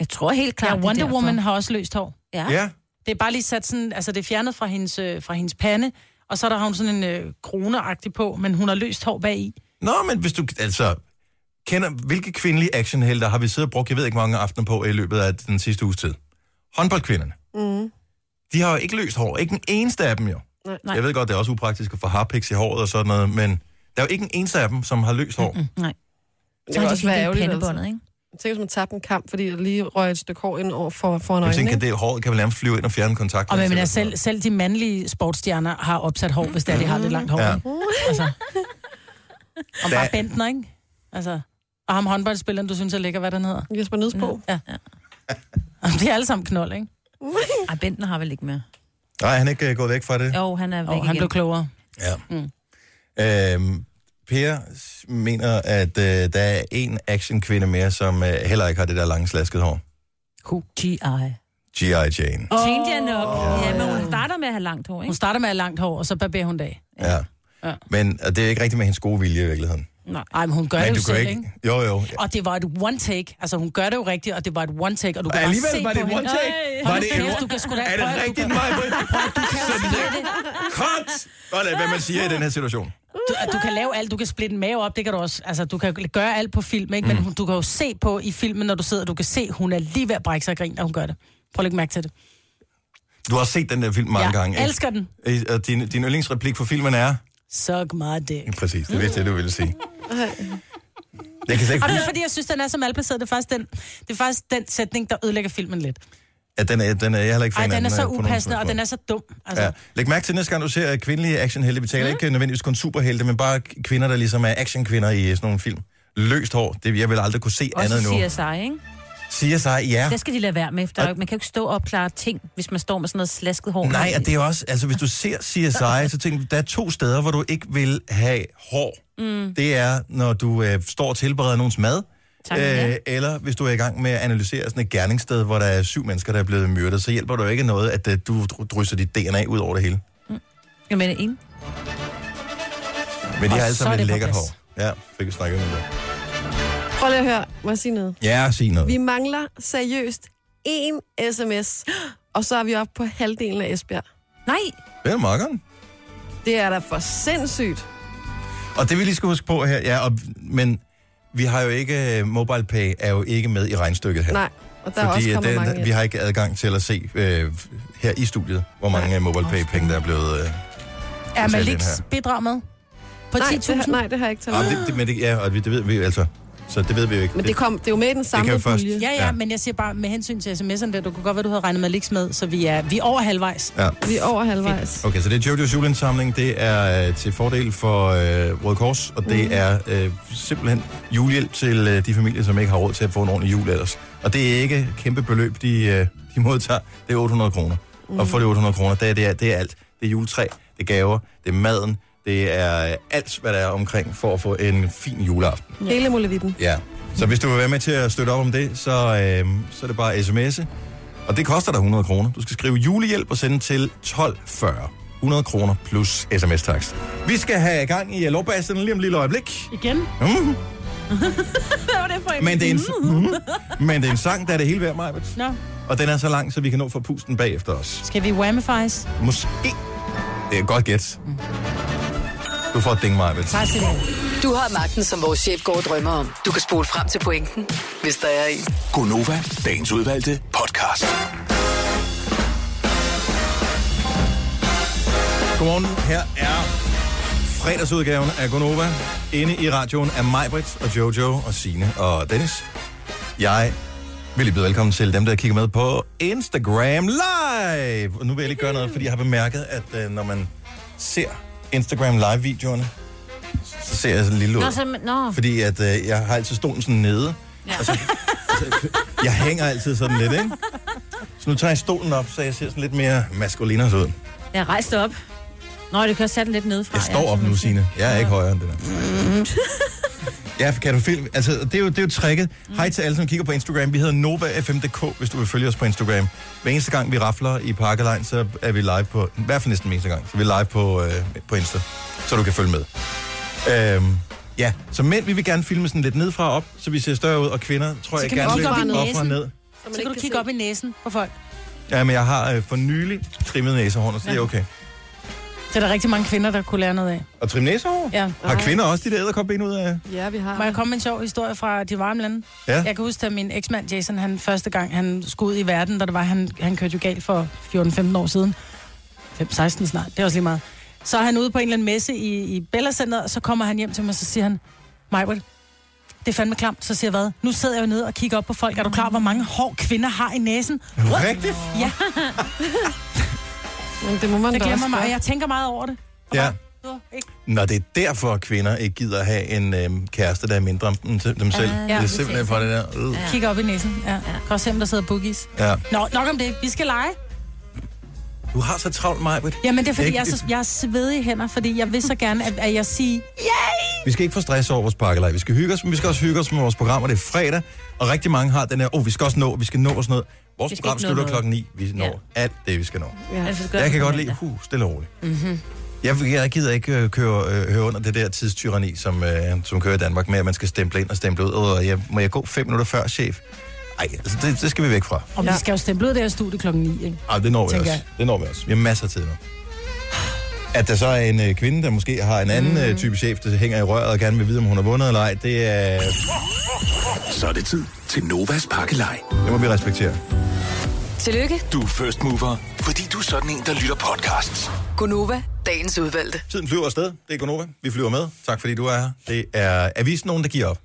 [SPEAKER 3] Jeg tror helt klart,
[SPEAKER 5] ja,
[SPEAKER 3] det er
[SPEAKER 5] Wonder
[SPEAKER 3] derfor.
[SPEAKER 5] Woman har også løst hår.
[SPEAKER 3] Ja.
[SPEAKER 1] Ja.
[SPEAKER 5] Det er bare lige sat sådan, altså det er fjernet fra hendes, øh, fra hendes pande, og så der har hun sådan en øh, kroneagtig på, men hun har løst hår bagi.
[SPEAKER 1] Nå, men hvis du, altså, kender, hvilke kvindelige actionhelter har vi siddet og brugt, jeg ved ikke mange aftener på i løbet af den sidste uges tid? Håndboldkvinderne.
[SPEAKER 4] Mm.
[SPEAKER 1] De har jo ikke løst hår. Ikke den eneste af dem jo. Nej. Jeg ved godt, det er også upraktisk at få harpiks i håret og sådan noget, men der er jo ikke en eneste af dem, som har løst hår. Mm-hmm.
[SPEAKER 3] Nej.
[SPEAKER 4] Det
[SPEAKER 3] Så
[SPEAKER 4] kan
[SPEAKER 3] har de
[SPEAKER 4] også
[SPEAKER 3] fik
[SPEAKER 4] være
[SPEAKER 3] det i
[SPEAKER 4] ærgerligt,
[SPEAKER 3] pandebåndet,
[SPEAKER 4] altså.
[SPEAKER 3] ikke?
[SPEAKER 4] Tænk, hvis man tabte en kamp, fordi der lige røg et stykke hår ind over for, foran
[SPEAKER 1] Jeg
[SPEAKER 4] øjnene.
[SPEAKER 1] tænker,
[SPEAKER 4] ikke?
[SPEAKER 1] det håret kan vel nærmest flyve ind og fjerne kontakten.
[SPEAKER 5] Og men, men selv, selv de mandlige sportsstjerner har opsat hår, hvis det er, de har lidt langt hår.
[SPEAKER 1] Ja.
[SPEAKER 5] Ja. Altså. Og
[SPEAKER 1] Der-
[SPEAKER 5] bare Bentner, ikke? Altså. Og ham håndboldspilleren, du synes er lækker, hvad den hedder?
[SPEAKER 4] Jesper Nødsbo.
[SPEAKER 5] Ja. ja. Jamen, de er alle sammen knold, ikke?
[SPEAKER 3] Ej, Bentner har vel ikke mere.
[SPEAKER 1] Nej, han er ikke øh, gået væk fra det.
[SPEAKER 3] Jo, han er væk
[SPEAKER 5] Og han
[SPEAKER 3] igen.
[SPEAKER 5] blev klogere.
[SPEAKER 1] Ja. Mm. Øhm, per s- mener, at øh, der er en actionkvinde mere, som øh, heller ikke har det der lange slasket hår.
[SPEAKER 3] G.I.
[SPEAKER 1] G.I. Jane.
[SPEAKER 3] Oh. Tænkte jeg nok. Ja, men hun starter med at have langt hår,
[SPEAKER 5] Hun
[SPEAKER 3] ikke?
[SPEAKER 5] starter med at have langt hår, og så barberer hun dag.
[SPEAKER 1] Ja.
[SPEAKER 5] Ja.
[SPEAKER 1] Men og det er ikke rigtigt med hendes gode vilje i virkeligheden.
[SPEAKER 3] Nej.
[SPEAKER 5] Ej, men hun gør
[SPEAKER 1] Men
[SPEAKER 5] det
[SPEAKER 1] du
[SPEAKER 5] jo
[SPEAKER 1] kan
[SPEAKER 5] selv,
[SPEAKER 1] ikke-
[SPEAKER 5] ikke? ikke?
[SPEAKER 1] Jo, jo.
[SPEAKER 5] Og det var et one take. Altså, hun gør det jo rigtigt, og det var et one take, og du kan bare
[SPEAKER 1] Alligevel
[SPEAKER 5] se
[SPEAKER 1] var det
[SPEAKER 5] på
[SPEAKER 1] et
[SPEAKER 5] hende.
[SPEAKER 1] one take?
[SPEAKER 5] Ej,
[SPEAKER 1] Var
[SPEAKER 5] hold
[SPEAKER 1] det
[SPEAKER 5] nu
[SPEAKER 1] et-
[SPEAKER 5] kæft, du kan sgu da
[SPEAKER 1] Er
[SPEAKER 5] ikke
[SPEAKER 1] det
[SPEAKER 5] prøve, du
[SPEAKER 1] rigtigt,
[SPEAKER 5] kan-
[SPEAKER 1] Maj-Brit?
[SPEAKER 5] Prøv, Du kan jo splitte-
[SPEAKER 1] Cut! Eller hvad man siger i den her situation.
[SPEAKER 5] du, at du kan lave alt, du kan splitte en mave op, det kan du også. Altså, du kan jo gøre alt på film, ikke?
[SPEAKER 1] Mm.
[SPEAKER 5] men hun, du kan jo se på i filmen, når du sidder, du kan se, hun er lige ved at brække sig og grine, når hun gør det. Prøv at lægge mærke til det.
[SPEAKER 1] Du har set den der film mange
[SPEAKER 5] Jeg
[SPEAKER 1] gange. ikke?
[SPEAKER 5] elsker den.
[SPEAKER 1] Øh, Og din, din yndlingsreplik for filmen er?
[SPEAKER 5] Suck my dick.
[SPEAKER 1] Præcis, det vidste jeg, du ville sige. Jeg kan slet ikke
[SPEAKER 5] Og det er
[SPEAKER 1] huske,
[SPEAKER 5] fordi, jeg synes, den er så malplaceret. Det er faktisk den, det er faktisk den sætning, der ødelægger filmen lidt.
[SPEAKER 1] at den er, den er jeg er heller ikke fan
[SPEAKER 5] Ej, den er
[SPEAKER 1] af
[SPEAKER 5] så
[SPEAKER 1] på nogen
[SPEAKER 5] upassende, og
[SPEAKER 1] tidspunkt.
[SPEAKER 5] den er så dum. Altså,
[SPEAKER 1] Ja.
[SPEAKER 5] ja.
[SPEAKER 1] Læg mærke til næste gang, du ser øh, kvindelige actionhelte. Vi taler mm. ikke øh, nødvendigvis kun superhelte, men bare k- kvinder, der ligesom er actionkvinder i øh, sådan nogle film. Løst hår, det jeg vil aldrig kunne se andet
[SPEAKER 3] Også
[SPEAKER 1] nu.
[SPEAKER 3] CSI, ikke?
[SPEAKER 1] siger sig, ja.
[SPEAKER 3] Det skal de lade være med, for der er jo ikke- man kan jo ikke stå og opklare ting, hvis man står med sådan noget slasket hår.
[SPEAKER 1] Nej, og det er også, altså hvis du ser CSI, så tænker du, der er to steder, hvor du ikke vil have hår. Mm. Det er, når du øh, står og tilbereder nogens mad, øh,
[SPEAKER 3] Tak, ja.
[SPEAKER 1] eller hvis du er i gang med at analysere sådan et gerningssted, hvor der er syv mennesker, der er blevet myrdet, så hjælper det jo ikke noget, at øh, du dr- drysser dit DNA ud over det hele.
[SPEAKER 3] Jeg mener, en.
[SPEAKER 1] Men de
[SPEAKER 4] Og
[SPEAKER 1] har alle
[SPEAKER 4] så
[SPEAKER 1] sammen
[SPEAKER 4] er
[SPEAKER 1] et
[SPEAKER 4] det på
[SPEAKER 1] lækkert hår.
[SPEAKER 4] plads.
[SPEAKER 1] Ja, fik vi snakket om det.
[SPEAKER 4] Prøv lige at høre. Må jeg sige noget?
[SPEAKER 1] Ja, sig noget.
[SPEAKER 4] Vi mangler seriøst én sms, og så er vi oppe på halvdelen af Esbjerg.
[SPEAKER 3] Nej!
[SPEAKER 1] Det er makkeren.
[SPEAKER 4] Det er da for sindssygt.
[SPEAKER 1] Og det vi lige skal huske på her, ja, og, men vi har jo ikke, øh, MobilePay er jo ikke med i regnstykket her.
[SPEAKER 4] Nej, og der er også
[SPEAKER 1] at
[SPEAKER 4] kommet
[SPEAKER 1] den-
[SPEAKER 4] mange
[SPEAKER 1] øh, vi har ikke adgang til at se øh, her i studiet, hvor mange ja. MobilePay-penge, der er blevet... Øh,
[SPEAKER 5] Er
[SPEAKER 1] betalt ind
[SPEAKER 5] Maliks
[SPEAKER 1] her.
[SPEAKER 5] bidrag med? På
[SPEAKER 4] Nej,
[SPEAKER 5] 10.000?
[SPEAKER 4] det har- nej, det har jeg ikke
[SPEAKER 1] Ah, det, det, men det, ja, og det, det ved vi jo altså. Så det ved vi jo ikke.
[SPEAKER 4] Men det, kom, det er jo med i den
[SPEAKER 1] kan jo
[SPEAKER 4] samlede
[SPEAKER 1] først-
[SPEAKER 4] pulje.
[SPEAKER 1] Ja,
[SPEAKER 5] Ja, ja, ja, men jeg siger bare, med hensyn til sms'erne, der, du kunne godt være, du havde regnet Maliks med, så vi er, vi er over halvvejs.
[SPEAKER 1] Ja.
[SPEAKER 4] Vi er over halvvejs.
[SPEAKER 1] Okay, så det er Jojo's juleindsamling. Det er øh, til fordel for øh, Røde Kors, og det mm. er øh, simpelthen julehjælp til øh, de familier, som ikke har råd til at få en ordentlig jul ellers. Og det er ikke et kæmpe beløb, de, øh, de modtager. Det er 800 kroner. Mm. Og for de 800 kroner, det er, det, er, det er alt. Det er juletræ, det er gaver, det er maden, det er øh, alt, hvad der er omkring for at få en fin juleaften.
[SPEAKER 4] Hele Mulevitten.
[SPEAKER 1] Ja. Så hvis du vil være med til at støtte op om det, så, øh, så er det bare sms'e. Og det koster dig 100 kroner. Du skal skrive julehjælp og sende til 1240. 100 kroner plus sms-takst. Vi skal have gang i lovbassen lige om et lille øjeblik.
[SPEAKER 5] Igen?
[SPEAKER 1] Mm.
[SPEAKER 3] Hvad var det for en?
[SPEAKER 1] Men, det er en, mm. men det er en sang, der er det hele værd, Majbet.
[SPEAKER 5] Nå,
[SPEAKER 1] Og den er så lang, så vi kan nå for pusten bagefter os.
[SPEAKER 5] skal vi whamifies?
[SPEAKER 1] Måske. Det er et godt gæt. Du får et ding, Majbet.
[SPEAKER 5] Tak skal du have.
[SPEAKER 7] Du har magten, som vores chef går og drømmer om. Du kan spole frem til pointen, hvis der er en.
[SPEAKER 6] Gonova, dagens udvalgte podcast.
[SPEAKER 1] Godmorgen. Her er fredagsudgaven af Gonova. Inde i radioen er Majbrit og Jojo og Sine og Dennis. Jeg vil lige byde velkommen til dem, der kigger med på Instagram Live. Og nu vil jeg lige gøre noget, fordi jeg har bemærket, at øh, når man ser Instagram Live-videoerne, så ser jeg sådan en lille ud.
[SPEAKER 3] Nå, så, nå.
[SPEAKER 1] Fordi at, øh, jeg har altid stolen sådan nede. Ja. Og så, så, jeg hænger altid sådan lidt, ikke? Så nu tager jeg stolen op, så jeg ser sådan lidt mere maskuliners ud.
[SPEAKER 3] Jeg rejste op. Nå, det kan også sætte den lidt nedefra.
[SPEAKER 1] Jeg står
[SPEAKER 3] ja,
[SPEAKER 1] op
[SPEAKER 3] som man
[SPEAKER 1] nu,
[SPEAKER 3] siger.
[SPEAKER 1] Signe. Jeg er ikke højere end det der. Ja, kan du film? Altså, det er jo, det er jo tricket. Hej til alle, som kigger på Instagram. Vi hedder NovaFM.dk, hvis du vil følge os på Instagram. Hver eneste gang, vi rafler i Parkelejen, så er vi live på... I hvert fald næsten hver eneste gang. Så vi er live på, øh, på Insta, så du kan følge med. Øhm, ja, så mænd, vi vil gerne filme sådan lidt nedfra og op, så vi ser større ud, og kvinder, tror
[SPEAKER 5] Så
[SPEAKER 1] jeg
[SPEAKER 5] kan vi
[SPEAKER 1] gerne
[SPEAKER 5] kigge op i
[SPEAKER 1] vil
[SPEAKER 5] næsen.
[SPEAKER 1] ofre ned.
[SPEAKER 4] man
[SPEAKER 5] Så
[SPEAKER 4] ikke
[SPEAKER 5] kan du
[SPEAKER 4] kan
[SPEAKER 5] kigge
[SPEAKER 4] se.
[SPEAKER 5] op i næsen på folk.
[SPEAKER 1] Ja, men jeg har øh, for nylig trimmet næsehårene, så det er okay.
[SPEAKER 5] Så er der rigtig mange kvinder, der kunne lære noget af.
[SPEAKER 1] Og trim næsehår?
[SPEAKER 5] Ja.
[SPEAKER 1] Har kvinder også de der æderkopben ud af?
[SPEAKER 4] Ja, vi har.
[SPEAKER 5] Må jeg komme med en sjov historie fra de varme lande?
[SPEAKER 1] Ja.
[SPEAKER 5] Jeg kan huske, at min eksmand Jason, han første gang, han skulle ud i verden, da det var, han, han kørte jo galt for 14-15 år siden. 5-16 snart, det er også lige meget. Så er han ude på en eller anden messe i, i Bella Center, og så kommer han hjem til mig, og så siger han, Majbert, det er fandme klamt. Så siger jeg, hvad? Nu sidder jeg jo nede og kigger op på folk. Er du klar, hvor mange hår kvinder har i næsen? What?
[SPEAKER 1] Rigtigt?
[SPEAKER 4] Men det må man
[SPEAKER 5] Det
[SPEAKER 4] da
[SPEAKER 5] glemmer
[SPEAKER 4] også
[SPEAKER 5] mig, og
[SPEAKER 4] gøre.
[SPEAKER 5] jeg tænker meget over det.
[SPEAKER 1] Ja.
[SPEAKER 5] Du, ikke?
[SPEAKER 1] Nå, det er derfor, at kvinder ikke gider at have en øhm, kæreste, der er mindre end dem, dem selv. Ja, det er
[SPEAKER 5] det
[SPEAKER 1] simpelthen
[SPEAKER 3] ses
[SPEAKER 1] for det der. Øh.
[SPEAKER 5] Kig op i næsen. Ja. Godt se, om der sidder boogies.
[SPEAKER 1] Ja.
[SPEAKER 5] Nå, nok om det. Vi skal lege.
[SPEAKER 1] Du har så travlt, Majbrit.
[SPEAKER 5] Jamen, det er fordi,
[SPEAKER 1] Ikke-
[SPEAKER 5] jeg er, så, jeg er svedig i hænder, fordi jeg vil så gerne, at, at jeg siger...
[SPEAKER 1] Vi skal ikke få stress over vores pakkelej. Vi skal hygge os, men vi skal også hygge os med vores program, og det er fredag. Og rigtig mange har den her, åh, oh, vi skal også nå, vi skal nå og sådan noget. Vores
[SPEAKER 3] Vi skal
[SPEAKER 1] program
[SPEAKER 3] ikke nå
[SPEAKER 1] slutter
[SPEAKER 3] noget.
[SPEAKER 1] klokken 9. Vi når
[SPEAKER 3] Ja.
[SPEAKER 1] alt det, vi skal nå.
[SPEAKER 3] Altså, det gør
[SPEAKER 1] Jeg
[SPEAKER 3] det
[SPEAKER 1] kan
[SPEAKER 3] på
[SPEAKER 1] godt lide,
[SPEAKER 3] mandag. Mhm.
[SPEAKER 1] huh, stille og roligt. Mm-hmm. Jeg, jeg gider ikke øh, køre, øh, høre under det der tidstyranni, som, øh, som kører i Danmark med, at man skal stemple ind og stemple ud. Og jeg, må jeg gå fem minutter før, chef? Ej, altså, det, det skal vi væk fra.
[SPEAKER 5] Og vi skal jo stemple ud af det her studie klokken 9, ikke?
[SPEAKER 1] Ej, det når vi
[SPEAKER 5] Tænker
[SPEAKER 1] også. Det når vi også. Vi har masser af tid nu. At der så er en øh, kvinde, der måske har en anden
[SPEAKER 3] Mhm.
[SPEAKER 1] øh, type chef, der hænger i røret og gerne vil vide, om hun har vundet eller ej, det, er,
[SPEAKER 6] Så er det tid til Novas pakkelej.
[SPEAKER 1] det må vi respektere.
[SPEAKER 7] Tillykke,
[SPEAKER 6] Du er first mover, fordi du er sådan en, der lytter podcasts.
[SPEAKER 7] Gunova, dagens udvalgte.
[SPEAKER 1] Tiden flyver afsted. Det er Gonova. Vi flyver med. Tak fordi du er her. Det er avisen nogen, der giver op.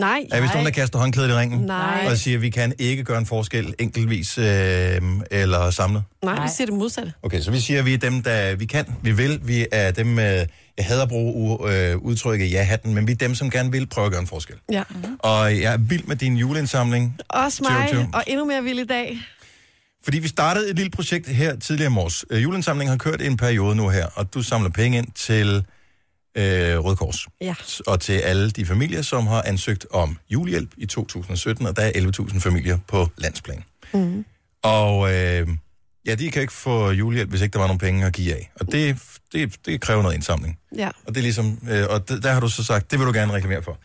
[SPEAKER 4] Nej.
[SPEAKER 1] Er vi nogen, der kaster håndklædet i ringen?
[SPEAKER 4] Nej.
[SPEAKER 1] Og siger, at vi kan ikke gøre en forskel enkeltvis øh, eller samlet?
[SPEAKER 4] Nej, vi siger det modsatte.
[SPEAKER 1] Okay, så vi siger, at vi er dem, der vi kan, vi vil, vi er dem, øh, jeg hader at bruge u- øh, udtrykket ja-hatten, men vi er dem, som gerne vil prøve at gøre en forskel.
[SPEAKER 4] Ja.
[SPEAKER 1] Og jeg er vild med din juleindsamling.
[SPEAKER 4] Også
[SPEAKER 1] mig, Tjo, tjo.
[SPEAKER 4] og endnu mere vild i dag.
[SPEAKER 1] Fordi vi startede et lille projekt her tidligere i morges. Øh, juleindsamlingen har kørt i en periode nu her, og du samler penge ind til øh, Røde Kors.
[SPEAKER 4] Ja.
[SPEAKER 1] Og til alle de familier, som har ansøgt om julehjælp i 2017, og der er 11.000 familier på landsplan.
[SPEAKER 11] Mm.
[SPEAKER 1] Og øh, ja, de kan ikke få julehjælp, hvis ikke der var nogen penge at give af. Og det, det, det kræver noget indsamling.
[SPEAKER 4] Ja.
[SPEAKER 1] Og, det er ligesom, øh, og d- der har du så sagt, det vil du gerne reklamere for.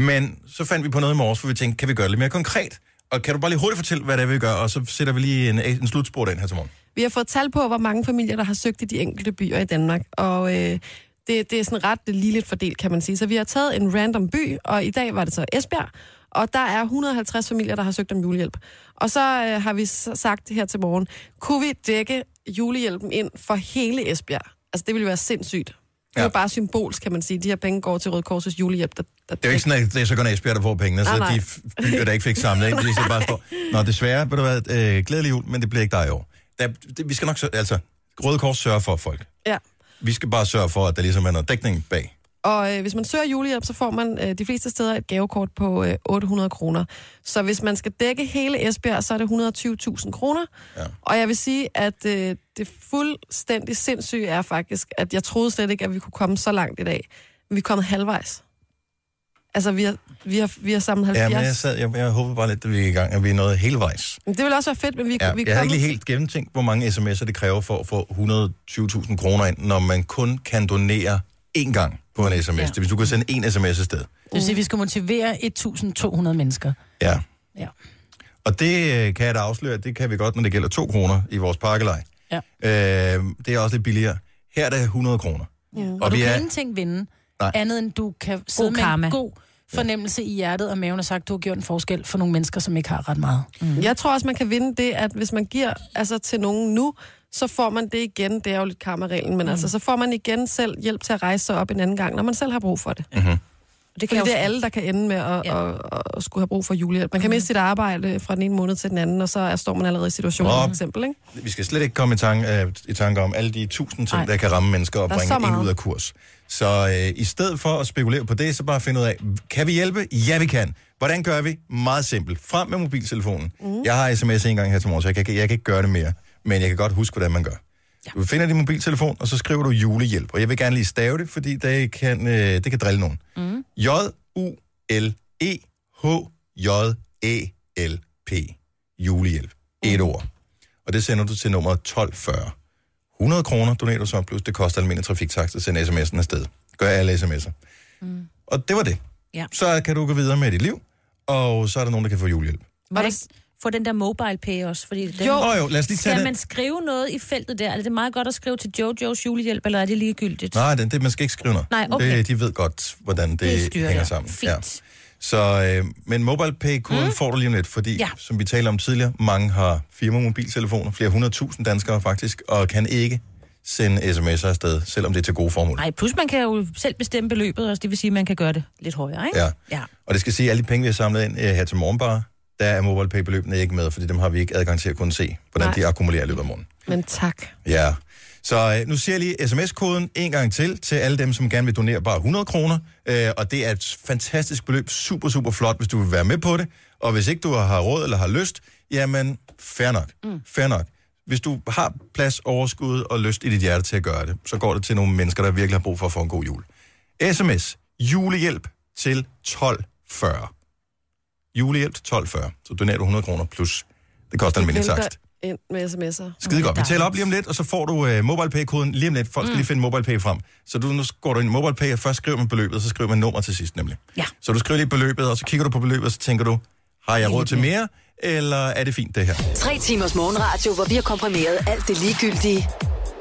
[SPEAKER 1] Men så fandt vi på noget i morges, hvor vi tænkte, kan vi gøre det lidt mere konkret? Og kan du bare lige hurtigt fortælle, hvad det er, vi gør? Og så sætter vi lige en, en slutspurt ind her til morgen.
[SPEAKER 4] Vi har fået tal på, hvor mange familier, der har søgt i de enkelte byer i Danmark, og øh, det, det er sådan ret ligeligt fordelt, kan man sige. Så vi har taget en random by, og i dag var det så Esbjerg, og der er 150 familier, der har søgt om julehjælp. Og så øh, har vi s- sagt her til morgen, kunne vi dække julehjælpen ind for hele Esbjerg? Altså, det ville være sindssygt. Det er jo bare symbolsk, kan man sige. De her penge går til Røde Korsets julehjælp. Der, der
[SPEAKER 1] Det er jo ikke sådan, at det er så kun Esbjerg, der får pengene, så
[SPEAKER 4] Nej,
[SPEAKER 1] Ah, nej,
[SPEAKER 4] nej.
[SPEAKER 1] de f- byer, der ikke fik samlet ind, de så bare står, Nå, desværre, ved du hvad, øh, glædelig jul, men det bliver ikke dig i år. Der, det, vi skal nok, sør- altså, Røde Kors sørger for folk.
[SPEAKER 4] Ja.
[SPEAKER 1] Vi skal bare sørge for, at der ligesom er noget dækning bag.
[SPEAKER 4] Og øh, hvis man søger julehjælp, så får man øh, de fleste steder et gavekort på øh, 800 kroner. Så hvis man skal dække hele Esbjerg, så er det 120.000 kroner. Ja. Og jeg vil sige, at øh, det fuldstændig sindssyge er faktisk, at jeg troede slet ikke, at vi kunne komme så langt i dag. Men vi er kommet halvvejs. Altså, vi har, vi har, vi har samlet 70.
[SPEAKER 1] Ja, men jeg, sad, jeg, jeg håber bare lidt, at vi er i gang, at vi er nået hele vejs.
[SPEAKER 4] Men Det ville også være fedt, men vi,
[SPEAKER 1] Ja,
[SPEAKER 4] vi er
[SPEAKER 1] jeg har ikke
[SPEAKER 4] kommet-
[SPEAKER 1] lige helt gennemtænkt, hvor mange sms'er det kræver for at få 120.000 kroner ind, når man kun kan donere én gang på en sms. Ja. Hvis du kan sende én sms afsted.
[SPEAKER 5] Det vil sige, at vi skal motivere 1.200 mennesker.
[SPEAKER 1] Ja.
[SPEAKER 5] Ja.
[SPEAKER 1] Og det øh, kan jeg da afsløre, det kan vi godt, når det gælder 2 kroner i vores pakkelej.
[SPEAKER 5] Ja.
[SPEAKER 1] Øh, det er også lidt billigere. Her er det 100 kroner.
[SPEAKER 5] Ja. Og,
[SPEAKER 1] Og
[SPEAKER 5] og du
[SPEAKER 1] vi
[SPEAKER 5] kan
[SPEAKER 1] er-
[SPEAKER 5] ingenting vinde,
[SPEAKER 1] Nej.
[SPEAKER 5] Nej. andet end du kan sidde med
[SPEAKER 3] karma.
[SPEAKER 5] en god fornemmelse i hjertet og maven og sagt, du har gjort en forskel for nogle mennesker, som ikke har ret meget.
[SPEAKER 4] Mm. Jeg tror også, man kan vinde det, at hvis man giver altså, til nogen nu, så får man det igen. Det er jo lidt karmareglen, men mm. altså, så får man igen selv hjælp til at rejse sig op en anden gang, når man selv har brug for det.
[SPEAKER 1] Mm-hmm.
[SPEAKER 4] Det, kan Fordi det er alle, der kan ende med at, ja. at, at, at skulle have brug for julehjælp. Man kan miste sit arbejde fra den ene måned til den anden, og så er- står man allerede i situationen,
[SPEAKER 1] Nå.
[SPEAKER 4] for eksempel. Ikke?
[SPEAKER 1] Vi skal slet ikke komme i tanke, øh, i tanke om alle de tusind ting, Ej.
[SPEAKER 4] Ej.
[SPEAKER 1] der kan ramme mennesker og
[SPEAKER 4] Der er
[SPEAKER 1] bringe
[SPEAKER 4] så
[SPEAKER 1] en
[SPEAKER 4] meget.
[SPEAKER 1] ud af kurs. Så øh, i stedet for at spekulere på det, så bare finde ud af, kan vi hjælpe? Ja, vi kan. Hvordan gør vi? Meget simpelt. Frem med mobiltelefonen. Mm. Jeg har sms en gang her til morgen, så jeg kan, ikke- jeg kan ikke gøre det mere. Men jeg kan godt huske, hvordan man gør. Ja. Du finder din mobiltelefon, og så skriver du julehjælp. Og jeg vil gerne lige stave det, fordi det kan, øh, det kan drille nogen.
[SPEAKER 12] Mm.
[SPEAKER 1] J-U-L-E-H-J-E-L-P. Julehjælp. Et
[SPEAKER 4] Mm.
[SPEAKER 1] ord. Og det sender du til nummer 1240. 100 kroner donerer du så, plus det koster almindelig trafiktakst at sende sms'en afsted. Gør alle sms'er. Mm. Og det var det.
[SPEAKER 3] Ja.
[SPEAKER 1] Så kan du gå videre med dit liv, og så er der nogen, der kan få julehjælp.
[SPEAKER 3] Må jeg ikke få den der mobile pay også? Fordi den...
[SPEAKER 1] Jo. Åh, jo, lad os lige tage
[SPEAKER 3] Skal
[SPEAKER 1] den.
[SPEAKER 3] man skrive noget i feltet der? Er det meget godt at skrive til Jojos julehjælp, eller er det ligegyldigt?
[SPEAKER 1] Nej, det, det, man skal ikke skrive noget.
[SPEAKER 3] Nej, okay.
[SPEAKER 1] det, de ved godt, hvordan det,
[SPEAKER 3] Det styrer
[SPEAKER 1] hænger
[SPEAKER 3] jeg.
[SPEAKER 1] sammen.
[SPEAKER 3] Fint.
[SPEAKER 1] Så, øh, men MobilePay-koden mm. får du lige om lidt, fordi ja.
[SPEAKER 3] Ja.
[SPEAKER 1] som vi talte om tidligere, mange har firma-mobiltelefoner, flere hundredtusind danskere faktisk, og kan ikke sende sms'er afsted, selvom det er til gode formål.
[SPEAKER 3] Nej, plus man kan jo selv bestemme beløbet også. Det vil sige, at man kan gøre det lidt højere, ikke?
[SPEAKER 1] Ja.
[SPEAKER 3] ja.
[SPEAKER 1] Og det skal sige, at alle de penge, vi har samlet ind øh, her til morgen bare, der er MobilePay-beløbene ikke med, fordi dem har vi ikke adgang til at kunne se, hvordan Nej.
[SPEAKER 4] Nej.
[SPEAKER 1] de akkumulerer i løbet af morgenen.
[SPEAKER 4] Men tak.
[SPEAKER 1] Ja. Så øh, nu siger jeg lige sms-koden en gang til, til alle dem, som gerne vil donere bare 100 kroner. Øh, og det er et fantastisk beløb. Super, super flot, hvis du vil være med på det. Og hvis ikke du har råd eller har lyst, jamen, fair nok. Mm. Fair nok. Hvis du har plads, overskud og lyst i dit hjerte til at gøre det, så går det til nogle mennesker, der virkelig har brug for at få en god jul. SMS, julehjælp til 1240. Julehjælp til 1240. Så donerer du 100 kroner plus. Det koster almindelig
[SPEAKER 4] Vælter
[SPEAKER 1] takst.
[SPEAKER 4] ind med sms'er.
[SPEAKER 1] Skide godt. Vi tæller op lige om lidt, og så får du øh, MobilePay-koden lige om lidt. Folk skal mm. lige finde MobilePay frem. Så du, nu går du ind i MobilePay, og først skriver man beløbet, og så skriver man nummer til sidst nemlig.
[SPEAKER 3] Ja.
[SPEAKER 1] Så du skriver lige beløbet, og så kigger du på beløbet, og så tænker du, har jeg råd til mere, eller er det fint det her?
[SPEAKER 7] Tre timers morgenradio, hvor vi har komprimeret alt det ligegyldige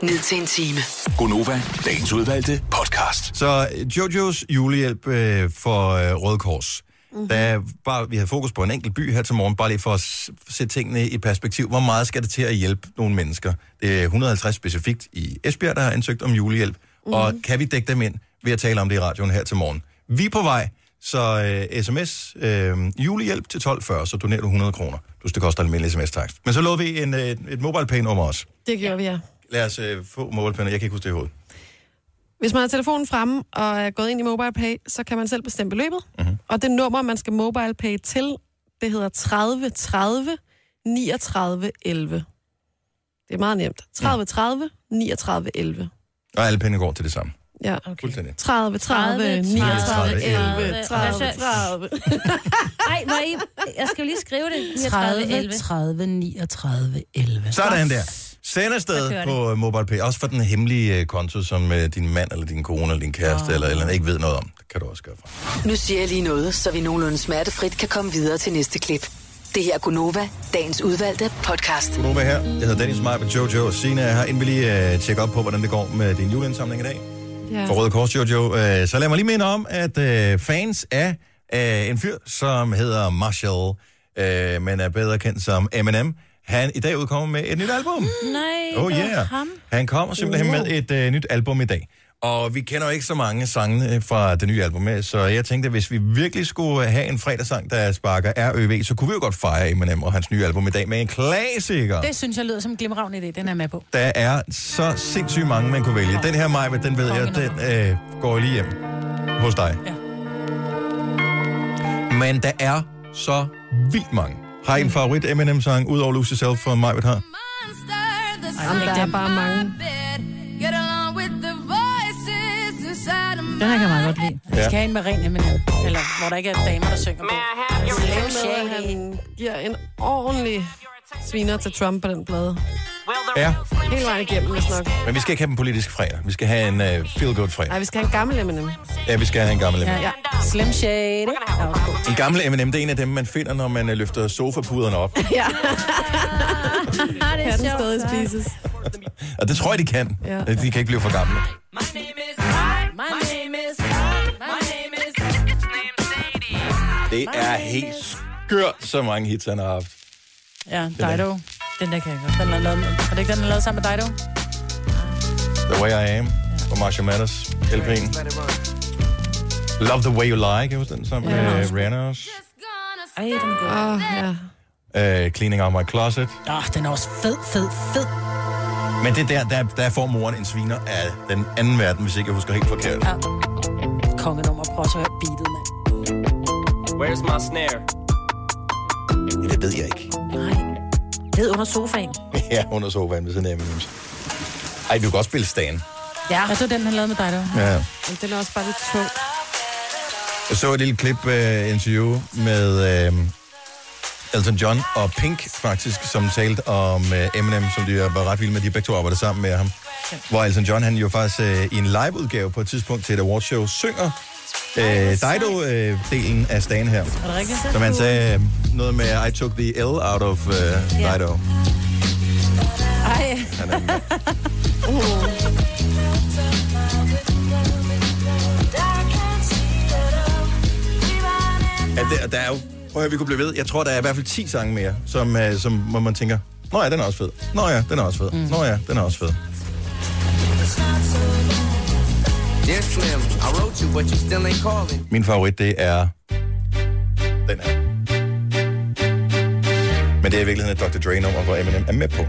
[SPEAKER 7] ned til en time.
[SPEAKER 6] Gonova, dagens udvalgte podcast.
[SPEAKER 1] Så øh, Jojos julehjælp øh, for øh, Røde Kors. Mm-hmm. Der bare, vi havde fokus på en enkelt by her til morgen, bare lige for at s- sætte tingene i perspektiv. Hvor meget skal det til at hjælpe nogle mennesker? Det er 150 specifikt i Esbjerg, der har ansøgt om julehjælp. Mm-hmm. Og kan vi dække dem ind ved at tale om det i radioen her til morgen? Vi er på vej, Så øh, sms, øh, julehjælp til 12.40, så donerer du 100 kroner. Plus det koster almindelig sms-takst. Men så lod vi en, øh, et MobilePay-nummer også.
[SPEAKER 4] Det gjorde vi, ja.
[SPEAKER 1] Lad os øh, få MobilePay'en, jeg kan ikke huske det i hovedet.
[SPEAKER 4] Hvis man har telefonen fremme og er gået ind i MobilePay, så kan man selv bestemme beløbet.
[SPEAKER 1] Mhm.
[SPEAKER 4] Mm-hmm. Og det nummer, man skal MobilePay til, det hedder 30 30 39 11. Det er meget nemt. 30 30 39 11.
[SPEAKER 1] Og alle penge går til det samme.
[SPEAKER 4] Ja.
[SPEAKER 1] Fuldstændig.
[SPEAKER 4] 30 30 39 11. 30 30.
[SPEAKER 3] Nej, hvor I... Jeg skal jo lige skrive det. 39,
[SPEAKER 2] 30,
[SPEAKER 3] 11.
[SPEAKER 2] 30, 39, 11.
[SPEAKER 1] Sådan der. Send
[SPEAKER 3] Så kører
[SPEAKER 1] afsted
[SPEAKER 3] det.
[SPEAKER 1] på uh, MobilePay. Også for den hemmelige uh, konto, som uh, din mand eller din kone eller din kæreste eller, eller andet ikke ved noget om. Det kan du også gøre fra.
[SPEAKER 7] Nu siger jeg lige noget, så vi nogenlunde smertefrit kan komme videre til næste klip. Det her er Gunova, dagens udvalgte podcast.
[SPEAKER 1] Godnova her. Jeg hedder Dennis Meyer med Jojo og Sina er her. Inden vi lige uh, tjekke op på, hvordan det går med din juleindsamling i dag.
[SPEAKER 4] Ja.
[SPEAKER 1] For Røde Kors, Jojo. Uh, så lad mig lige minde om, at uh, fans af uh, en fyr, som hedder Marshall, uh, men er bedre kendt som Eminem, han i dag udkommer med et nyt album.
[SPEAKER 3] Nej,
[SPEAKER 1] Oh
[SPEAKER 3] det var
[SPEAKER 1] yeah.
[SPEAKER 3] ham.
[SPEAKER 1] Han kommer simpelthen med et øh, nyt album i dag. Og vi kender jo ikke så mange sange øh, fra det nye album, øh, så jeg tænkte, at hvis vi virkelig skulle øh, have en fredagssang, der sparker RØV, så kunne vi jo godt fejre Eminem og hans nye album i dag med en klassiker.
[SPEAKER 2] Det synes jeg lyder som en glimravn idé, den er jeg med på.
[SPEAKER 1] Der er så sindssygt mange, man kunne vælge. Den her mig, den ved jeg, den øh, går lige hjem hos dig. Men der er så vildt mange. Har I en favorit Eminem-sang, udover Lose Yourself fra mig, her?
[SPEAKER 4] Der er bare mange.
[SPEAKER 2] Den her kan jeg meget godt lide. Vi
[SPEAKER 1] Ja.
[SPEAKER 2] skal have en med ren Eminem, eller hvor der ikke er damer, der synger på. Slim
[SPEAKER 4] Med, at
[SPEAKER 2] Shady.
[SPEAKER 4] han giver en ordentlig sviner til Trump på den plade.
[SPEAKER 1] Ja,
[SPEAKER 4] Hele vejen igennem, hvis nok.
[SPEAKER 1] men vi skal ikke have en politisk fredag. Vi skal have en øh, feel-good
[SPEAKER 4] Nej,
[SPEAKER 1] fredag.
[SPEAKER 4] vi skal have en gammel Eminem.
[SPEAKER 1] Ja, vi skal have en gammel Eminem.
[SPEAKER 4] Ja.
[SPEAKER 2] Slim Shady. Ja, også god.
[SPEAKER 1] En gammel M&M, det er en af dem, man finder, når man øh, løfter sofapuderne op.
[SPEAKER 4] ja.
[SPEAKER 5] Ah,
[SPEAKER 4] Kan den stadig spises?
[SPEAKER 1] Og det tror jeg, de kan. Øh,
[SPEAKER 4] Ja.
[SPEAKER 1] De kan ikke blive for gamle. Det er helt skørt, så mange hits, han har haft.
[SPEAKER 2] Ja, Dido.
[SPEAKER 3] Den der kan jeg godt.
[SPEAKER 2] Den er lavet, er det ikke den, der er lavet sammen med Dido?
[SPEAKER 1] The Way I Am og Marshall Mathers, LP'en. Love the Way You Lie, kan jeg huske den sammen med øh, Rihanna også.
[SPEAKER 3] Ej, den er god.
[SPEAKER 4] Åh, oh, ja.
[SPEAKER 1] Øh, Cleaning Out My Closet.
[SPEAKER 2] Åh, oh, den er også fed, fed, fed.
[SPEAKER 1] Men det er der, der, der får moren en sviner af den anden verden, hvis ikke jeg husker helt forkert.
[SPEAKER 2] Kongenummer, prøv også at høre beatet, mand.
[SPEAKER 11] Where's my snare?
[SPEAKER 1] Ja, det ved jeg ikke.
[SPEAKER 3] Nej. Ned under sofaen.
[SPEAKER 1] ja, under sofaen ved siden af M&M's. Ej, du kan godt spille Stan.
[SPEAKER 3] Ja.
[SPEAKER 2] Jeg tror, den han lavede med Dido.
[SPEAKER 1] Ja.
[SPEAKER 4] Men den er også bare lidt tung.
[SPEAKER 1] Jeg så et lille klip øh, interview med øh, Elton John og Pink, faktisk, som talte om øh, Eminem, som de var ret vilde med. De begge to arbejdede sammen med ham. Hvor Elton John, han jo faktisk øh, i en liveudgave på et tidspunkt til et awardshow, synger øh, Dido-delen af Stan her.
[SPEAKER 2] Er det rigtigt?
[SPEAKER 1] Som han sagde øh, noget med, I took the L out of øh, Dido.
[SPEAKER 2] Ej,
[SPEAKER 1] Han er med. Ja, der, der er jo... Prøv at høre, vi kunne blive ved. Jeg tror, der er i hvert fald 10 sange mere, som, øh, som hvor man tænker, Nå ja, den er også fed. Nå ja, den er også fed.
[SPEAKER 2] Mm.
[SPEAKER 1] Nå ja, den er også fed.
[SPEAKER 11] Yes, Slim, I wrote you, but you still ain't calling.
[SPEAKER 1] Min favorit, det er... Den her. Men det er i virkeligheden et Dr. Dre-nummer, hvor Eminem er med på.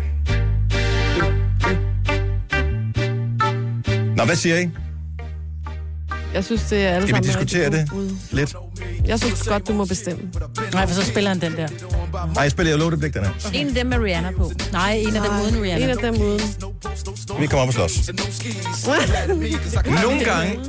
[SPEAKER 1] Nå, hvad siger I?
[SPEAKER 4] Jeg synes, det er alle
[SPEAKER 1] Skal vi
[SPEAKER 4] sammen
[SPEAKER 1] diskutere
[SPEAKER 4] rigtig
[SPEAKER 1] det
[SPEAKER 4] gode bud.
[SPEAKER 1] lidt?
[SPEAKER 4] Jeg synes godt, du må bestemme.
[SPEAKER 2] nej, for så spiller han den der.
[SPEAKER 1] Nej, jeg spiller jo lov, det blik, den her.
[SPEAKER 3] En af dem med Rihanna på.
[SPEAKER 2] Nej, en af dem uden
[SPEAKER 4] En
[SPEAKER 2] Rihanna.
[SPEAKER 4] af dem uden.
[SPEAKER 1] Vi kommer op og slås. Nogle gange,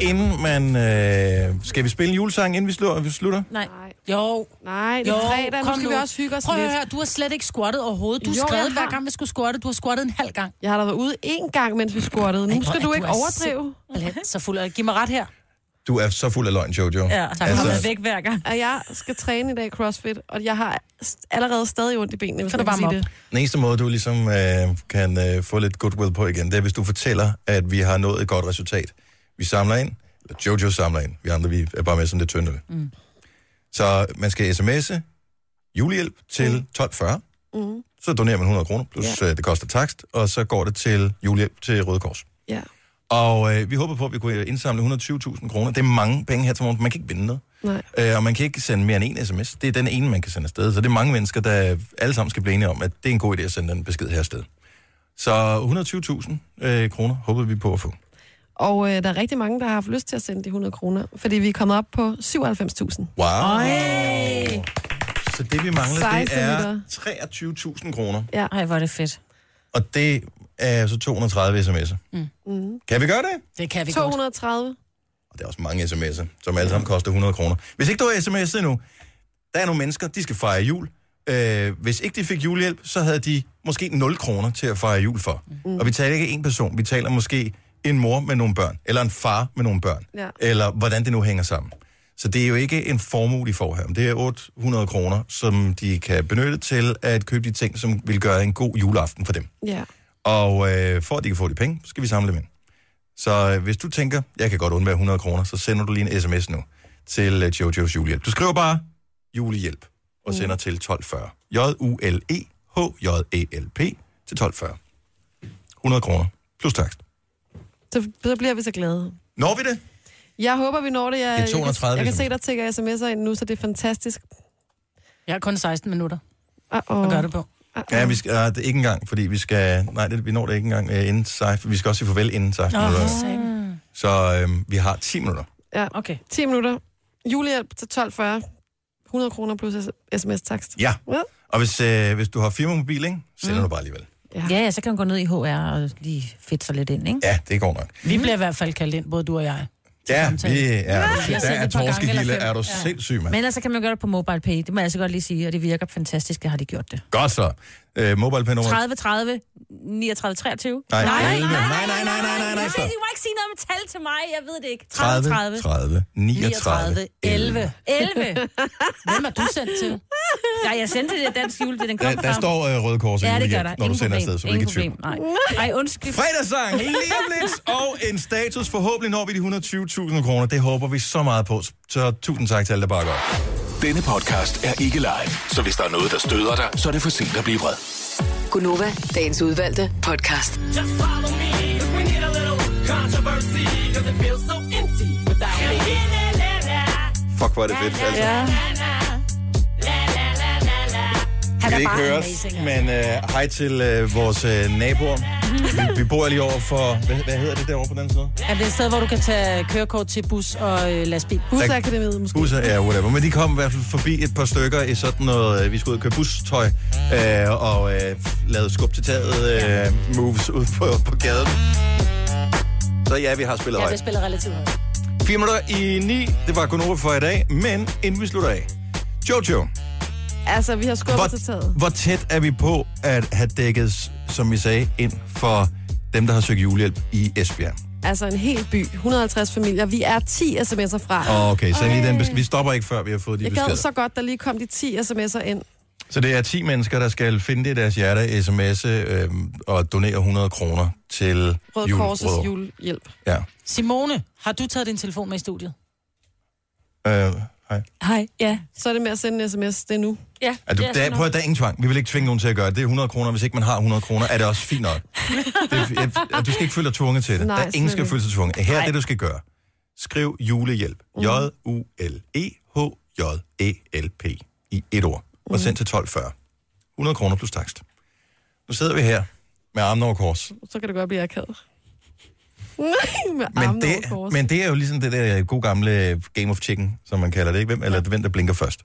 [SPEAKER 1] inden man... Øh, skal vi spille en julesang, inden vi slutter? Vi slutter?
[SPEAKER 3] Nej.
[SPEAKER 2] Jo,
[SPEAKER 4] Nej, det er fredag. Nu
[SPEAKER 2] kom
[SPEAKER 4] skal vi også hygge os
[SPEAKER 2] Prøv at
[SPEAKER 4] lidt.
[SPEAKER 2] høre, du har slet ikke squattet overhovedet. Du
[SPEAKER 4] Jo, jeg
[SPEAKER 2] skrev hver
[SPEAKER 4] har.
[SPEAKER 2] gang, vi skulle squatte. Du har squattet en halv gang.
[SPEAKER 4] Jeg har da været ude én gang, mens vi squattede. Nu
[SPEAKER 2] Ej,
[SPEAKER 4] skal
[SPEAKER 2] hvor
[SPEAKER 4] du
[SPEAKER 2] er
[SPEAKER 4] ikke
[SPEAKER 2] du altså
[SPEAKER 4] overdrive.
[SPEAKER 2] Eller, så fuld af. Giv mig ret her.
[SPEAKER 1] Du er så fuld af løgn, Jojo.
[SPEAKER 3] Ja, så
[SPEAKER 1] Altså-
[SPEAKER 3] kommer altså... væk hver gang.
[SPEAKER 4] At jeg skal træne i dag i CrossFit, og jeg har allerede stadig ondt i benene, hvis
[SPEAKER 2] Kan
[SPEAKER 4] man
[SPEAKER 2] du
[SPEAKER 4] kan
[SPEAKER 2] varme
[SPEAKER 4] sige det.
[SPEAKER 1] Den eneste måde, du ligesom øh, kan øh, få lidt goodwill på igen, det er, hvis du fortæller, at vi har nået et godt resultat. Vi samler ind, eller Jojo samler ind, vi andre vi er bare med som det tynde. Mm. Så man skal sms'e julehjælp til mm. 1240,
[SPEAKER 4] Mm.
[SPEAKER 1] så donerer man 100 kroner, plus ja. øh, det koster takst, og så går det til julehjælp til Røde Kors.
[SPEAKER 4] Ja.
[SPEAKER 1] Og øh, vi håber på, at vi kunne indsamle 120.000 kroner. Det er mange penge her til morgen. Man kan ikke vinde noget.
[SPEAKER 4] Nej.
[SPEAKER 1] Øh, og man kan ikke sende mere end en sms. Det er den ene, man kan sende afsted. Så det er mange mennesker, der alle sammen skal blive enige om, at det er en god idé at sende den besked her afsted. Så 120.000 øh, kroner håber vi på at få.
[SPEAKER 4] Og øh, der er rigtig mange, der har haft lyst til at sende de 100 kroner, fordi vi er kommet op på 97.000.
[SPEAKER 1] Wow.
[SPEAKER 4] Ej.
[SPEAKER 1] Så det, vi mangler, det
[SPEAKER 4] Sejeste
[SPEAKER 1] er 23.000 kroner.
[SPEAKER 4] Ja.
[SPEAKER 3] Ej, hvor er det fedt.
[SPEAKER 1] Og det er så 230 sms'er.
[SPEAKER 4] Mm.
[SPEAKER 1] Kan vi gøre det?
[SPEAKER 5] Det kan vi
[SPEAKER 4] 230. godt.
[SPEAKER 1] Og det er også mange sms'er, som alle sammen koster 100 kroner. Hvis ikke du har sms'et endnu, der er nogle mennesker, de skal fejre jul. Øh, hvis ikke de fik julehjælp, så havde de måske 0 kroner til at fejre jul for. Mm. Og vi taler ikke en person, vi taler måske en mor med nogle børn, eller en far med nogle børn,
[SPEAKER 4] Ja.
[SPEAKER 1] eller hvordan det nu hænger sammen. Så det er jo ikke en formue, de får her. Det er 800 kroner, som de kan benytte til at købe de ting, som vil gøre en god juleaften for dem.
[SPEAKER 4] Ja.
[SPEAKER 1] Og øh, for at de kan få de penge, så skal vi samle dem ind. Så øh, hvis du tænker, jeg kan godt undvære 100 kroner, så sender du lige en sms nu til øh, Jojo's julehjælp. Du skriver bare julehjælp og sender til 1240. E J-U-L-E-H-J-E-L-P E til 1240. 100 kroner plus takst.
[SPEAKER 4] Så, så bliver vi så glade.
[SPEAKER 1] Når vi det?
[SPEAKER 4] Jeg håber, vi når det. Jeg,
[SPEAKER 1] Det er 230,
[SPEAKER 4] jeg, kan, jeg kan
[SPEAKER 1] ligesom.
[SPEAKER 4] se, der tigger sms'er ind nu, så det er fantastisk.
[SPEAKER 5] Jeg har kun 16 minutter.
[SPEAKER 4] Uh-oh.
[SPEAKER 5] Hvad gør det på?
[SPEAKER 1] Ja, vi skal, øh, det er ikke engang, fordi vi skal... Nej, det, vi når det ikke engang øh, inden sejf. Vi skal også sige farvel inden sejf. Så øh, vi har 10 minutter.
[SPEAKER 4] Ja.
[SPEAKER 3] Okay.
[SPEAKER 4] 10 minutter. Julehjælp til 12.40. 100 kroner plus sms-takst.
[SPEAKER 1] Ja.
[SPEAKER 4] Ja.
[SPEAKER 1] Og hvis, øh, hvis du har firmamobil, ikke? sender mm. du bare alligevel.
[SPEAKER 4] Ja.
[SPEAKER 3] ja, så kan man gå ned i HR og lige fedte sig lidt ind, ikke?
[SPEAKER 1] Ja, det går nok.
[SPEAKER 5] Vi bliver i hvert fald kaldt ind, både du og jeg.
[SPEAKER 1] Ja, vi er,
[SPEAKER 5] Jeg
[SPEAKER 3] Ah,
[SPEAKER 1] ja.
[SPEAKER 5] har
[SPEAKER 1] der
[SPEAKER 5] set
[SPEAKER 1] er
[SPEAKER 5] et par gange
[SPEAKER 1] torskegilde,
[SPEAKER 5] eller fem.
[SPEAKER 1] er du
[SPEAKER 5] Ja.
[SPEAKER 1] sindssyg, mand.
[SPEAKER 3] Men ellers så kan man gøre det på MobilePay. Det må jeg altså godt lige sige, og det virker fantastisk, at har de gjort det.
[SPEAKER 1] Godt så. Uh, mobile pen
[SPEAKER 3] 30, 30, 39, 23.
[SPEAKER 1] Nej,
[SPEAKER 3] nej, nej,
[SPEAKER 1] nej, nej, nej, nej, nej, nej, nej,
[SPEAKER 3] Jeg ved,
[SPEAKER 1] stop.
[SPEAKER 3] du må ikke sige noget om tal til mig, jeg ved det ikke. 30,
[SPEAKER 1] 30,
[SPEAKER 3] 30,
[SPEAKER 1] 30, 39,
[SPEAKER 3] 39, 11. 11?
[SPEAKER 5] Hvem er du sendt til?
[SPEAKER 3] Nej, jeg sendte det dansk jule, det den kom
[SPEAKER 1] Der, der
[SPEAKER 3] frem.
[SPEAKER 1] står øh, røde kors i
[SPEAKER 3] ja, det gør
[SPEAKER 1] julehjælp,
[SPEAKER 3] der.
[SPEAKER 1] når du
[SPEAKER 3] Ingen
[SPEAKER 1] sender
[SPEAKER 3] problem.
[SPEAKER 1] afsted, så du
[SPEAKER 3] Ingen
[SPEAKER 1] ikke er i tvivl.
[SPEAKER 3] problem. Nej. Ej, undskyld.
[SPEAKER 1] Fredagssang, lige om lidt, og en status. Forhåbentlig når vi de 120.000 kroner. Det håber vi så meget på. Så tusind tak til alle, der bakker op.
[SPEAKER 6] Denne podcast er ikke live, så hvis der er noget, der støder dig, så er det for sent at blive vred.
[SPEAKER 7] Gunova, dagens udvalgte podcast.
[SPEAKER 12] Just follow me, 'cause we need a little controversy, 'cause it feels so empty without me.
[SPEAKER 1] Fuck, hvor er det fedt, altså.
[SPEAKER 12] Ja.
[SPEAKER 1] Vi kan ikke høre os,
[SPEAKER 3] altså.
[SPEAKER 1] men øh, hej til øh, vores øh, naboer. Vi, vi bor lige over for, hvad, hvad hedder det derovre på den side?
[SPEAKER 5] Er det et sted, hvor du kan tage kørekort til bus og øh, lastbil?
[SPEAKER 4] Busakademiet måske.
[SPEAKER 1] Busser, ja, whatever. Men de kom i hvert fald forbi et par stykker i sådan noget, øh, vi skulle ud og købe bustøj, øh, og øh, lavede skub til taget øh, moves ud på, på gaden. Så ja, vi har spillet
[SPEAKER 5] Ja, det
[SPEAKER 1] højt.
[SPEAKER 5] spiller relativt højt.
[SPEAKER 1] 4 minutter i 9, det var kun over for i dag, men inden vi slutter af. Jojo,
[SPEAKER 4] Altså, vi har skubbet til taget.
[SPEAKER 1] hvor tæt er vi på at have dækket, som vi sagde, ind for dem, der har søgt julehjælp i Esbjerg?
[SPEAKER 4] Altså en hel by, 150 familier. Vi er 10 sms'er fra.
[SPEAKER 1] Åh, Okay, så lige den bes- vi stopper ikke, før vi har fået de
[SPEAKER 4] Jeg gad
[SPEAKER 1] beskeder.
[SPEAKER 4] så godt, der lige kom de 10 sms'er ind.
[SPEAKER 1] Så det er 10 mennesker, der skal finde det i deres hjerte, sms'e øh, og donere 100 kroner til
[SPEAKER 5] Røde
[SPEAKER 1] jul-
[SPEAKER 5] Korsets
[SPEAKER 1] Røde-
[SPEAKER 4] julehjælp.
[SPEAKER 1] Ja.
[SPEAKER 5] Simone, har du taget din telefon med i studiet?
[SPEAKER 1] Øh, hej.
[SPEAKER 5] Hej,
[SPEAKER 3] ja.
[SPEAKER 4] Så er det med at sende en sms, det er nu.
[SPEAKER 3] Ja,
[SPEAKER 1] Er du, der, prøv, at- der er ingen tvang. Vi vil ikke tvinge nogen til at gøre det. Det er 100 kroner. Hvis ikke man har 100 kroner, er det også fint nok. Det, er- jeg, du skal ikke føle dig tvunget til det.
[SPEAKER 4] Nej,
[SPEAKER 1] der er ingen, der skal
[SPEAKER 4] selvfølgelig. Mm.
[SPEAKER 1] føle sig tvunget. Her er
[SPEAKER 4] Nej.
[SPEAKER 1] det, du skal gøre. Skriv julehjælp. J-U-L-E-H-J-E-L-P. I et ord.
[SPEAKER 4] Mm.
[SPEAKER 1] Og send til 1240. 100 kroner plus takst. Nu sidder vi her med armen over kors.
[SPEAKER 4] Så kan det godt blive akavet. Nej, med
[SPEAKER 1] Men
[SPEAKER 4] armene
[SPEAKER 1] det,
[SPEAKER 4] over kors.
[SPEAKER 1] men det er jo ligesom det der gode gamle øh, Game of Chicken, som man kalder det, ikke? Hvem, eller hvem der blinker først.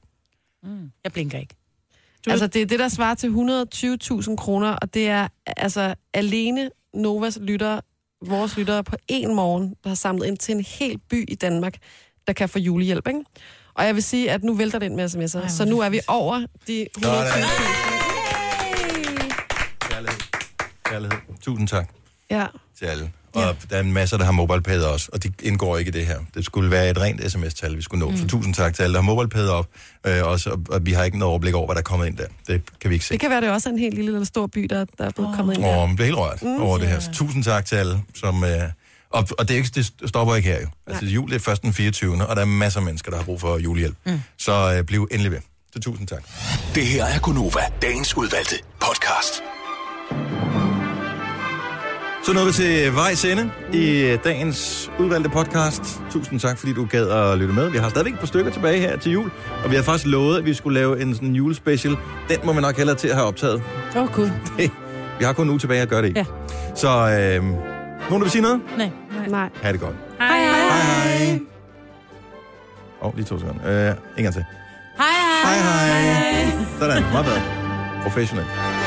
[SPEAKER 5] Jeg blinker ikke.
[SPEAKER 4] Altså, det er det, der svarer til 120.000 kroner, og det er altså alene Novas lyttere, vores lyttere på en morgen, der har samlet ind til en hel by i Danmark, der kan få julehjælp, ikke? Og jeg vil sige, at nu vælter det ind med sms'er, Ej, så nu er vi over de 120.000.
[SPEAKER 1] Kærlighed. Kærlighed. Tusind tak
[SPEAKER 4] Ja.
[SPEAKER 1] til alle. Og der er en masse, der har MobilePay også, og de indgår ikke i det her. Det skulle være et rent sms-tal, vi skulle nå. Mm. Så tusind tak til alle, der har MobilePay op. Øh, også, og, og vi har ikke noget overblik over, hvad der er kommet ind der. Det kan vi ikke se.
[SPEAKER 4] Det kan være, det også er en helt lille eller stor by, der, der er blevet oh. kommet ind
[SPEAKER 1] Og
[SPEAKER 4] der.
[SPEAKER 1] man bliver helt rørt
[SPEAKER 4] Mm.
[SPEAKER 1] mm, over det her. Så tusind tak til alle, som... Øh, og, og det, er ikke, det stopper ikke her jo. Altså, jul det er først den 24. Og der er masser af mennesker, der har brug for julehjælp. Mm. Så øh, bliv endelig ved. Så tusind tak.
[SPEAKER 6] Det her er Gunova, dagens udvalgte podcast.
[SPEAKER 1] Så nåede vi til vejs ende i øh, dagens udvalgte podcast. Tusind tak, fordi du gad at lytte med. Vi har stadigvæk et par stykker tilbage her til jul, og vi har faktisk lovet, at vi skulle lave en sådan julespecial. Den må vi nok hellere til at have optaget.
[SPEAKER 5] Åh, oh, gud.
[SPEAKER 1] Det- vi har kun en uge tilbage at gøre det i. Ja. Så øh, nogen, der vil sige noget?
[SPEAKER 3] Nej.
[SPEAKER 4] Nej.
[SPEAKER 1] Ha' det godt.
[SPEAKER 3] Hej, hej.
[SPEAKER 1] Hej. Åh, oh, lige to sekunder. Øh, en gang til.
[SPEAKER 3] Hej, hej.
[SPEAKER 1] Sådan, meget bedre. Professionelt.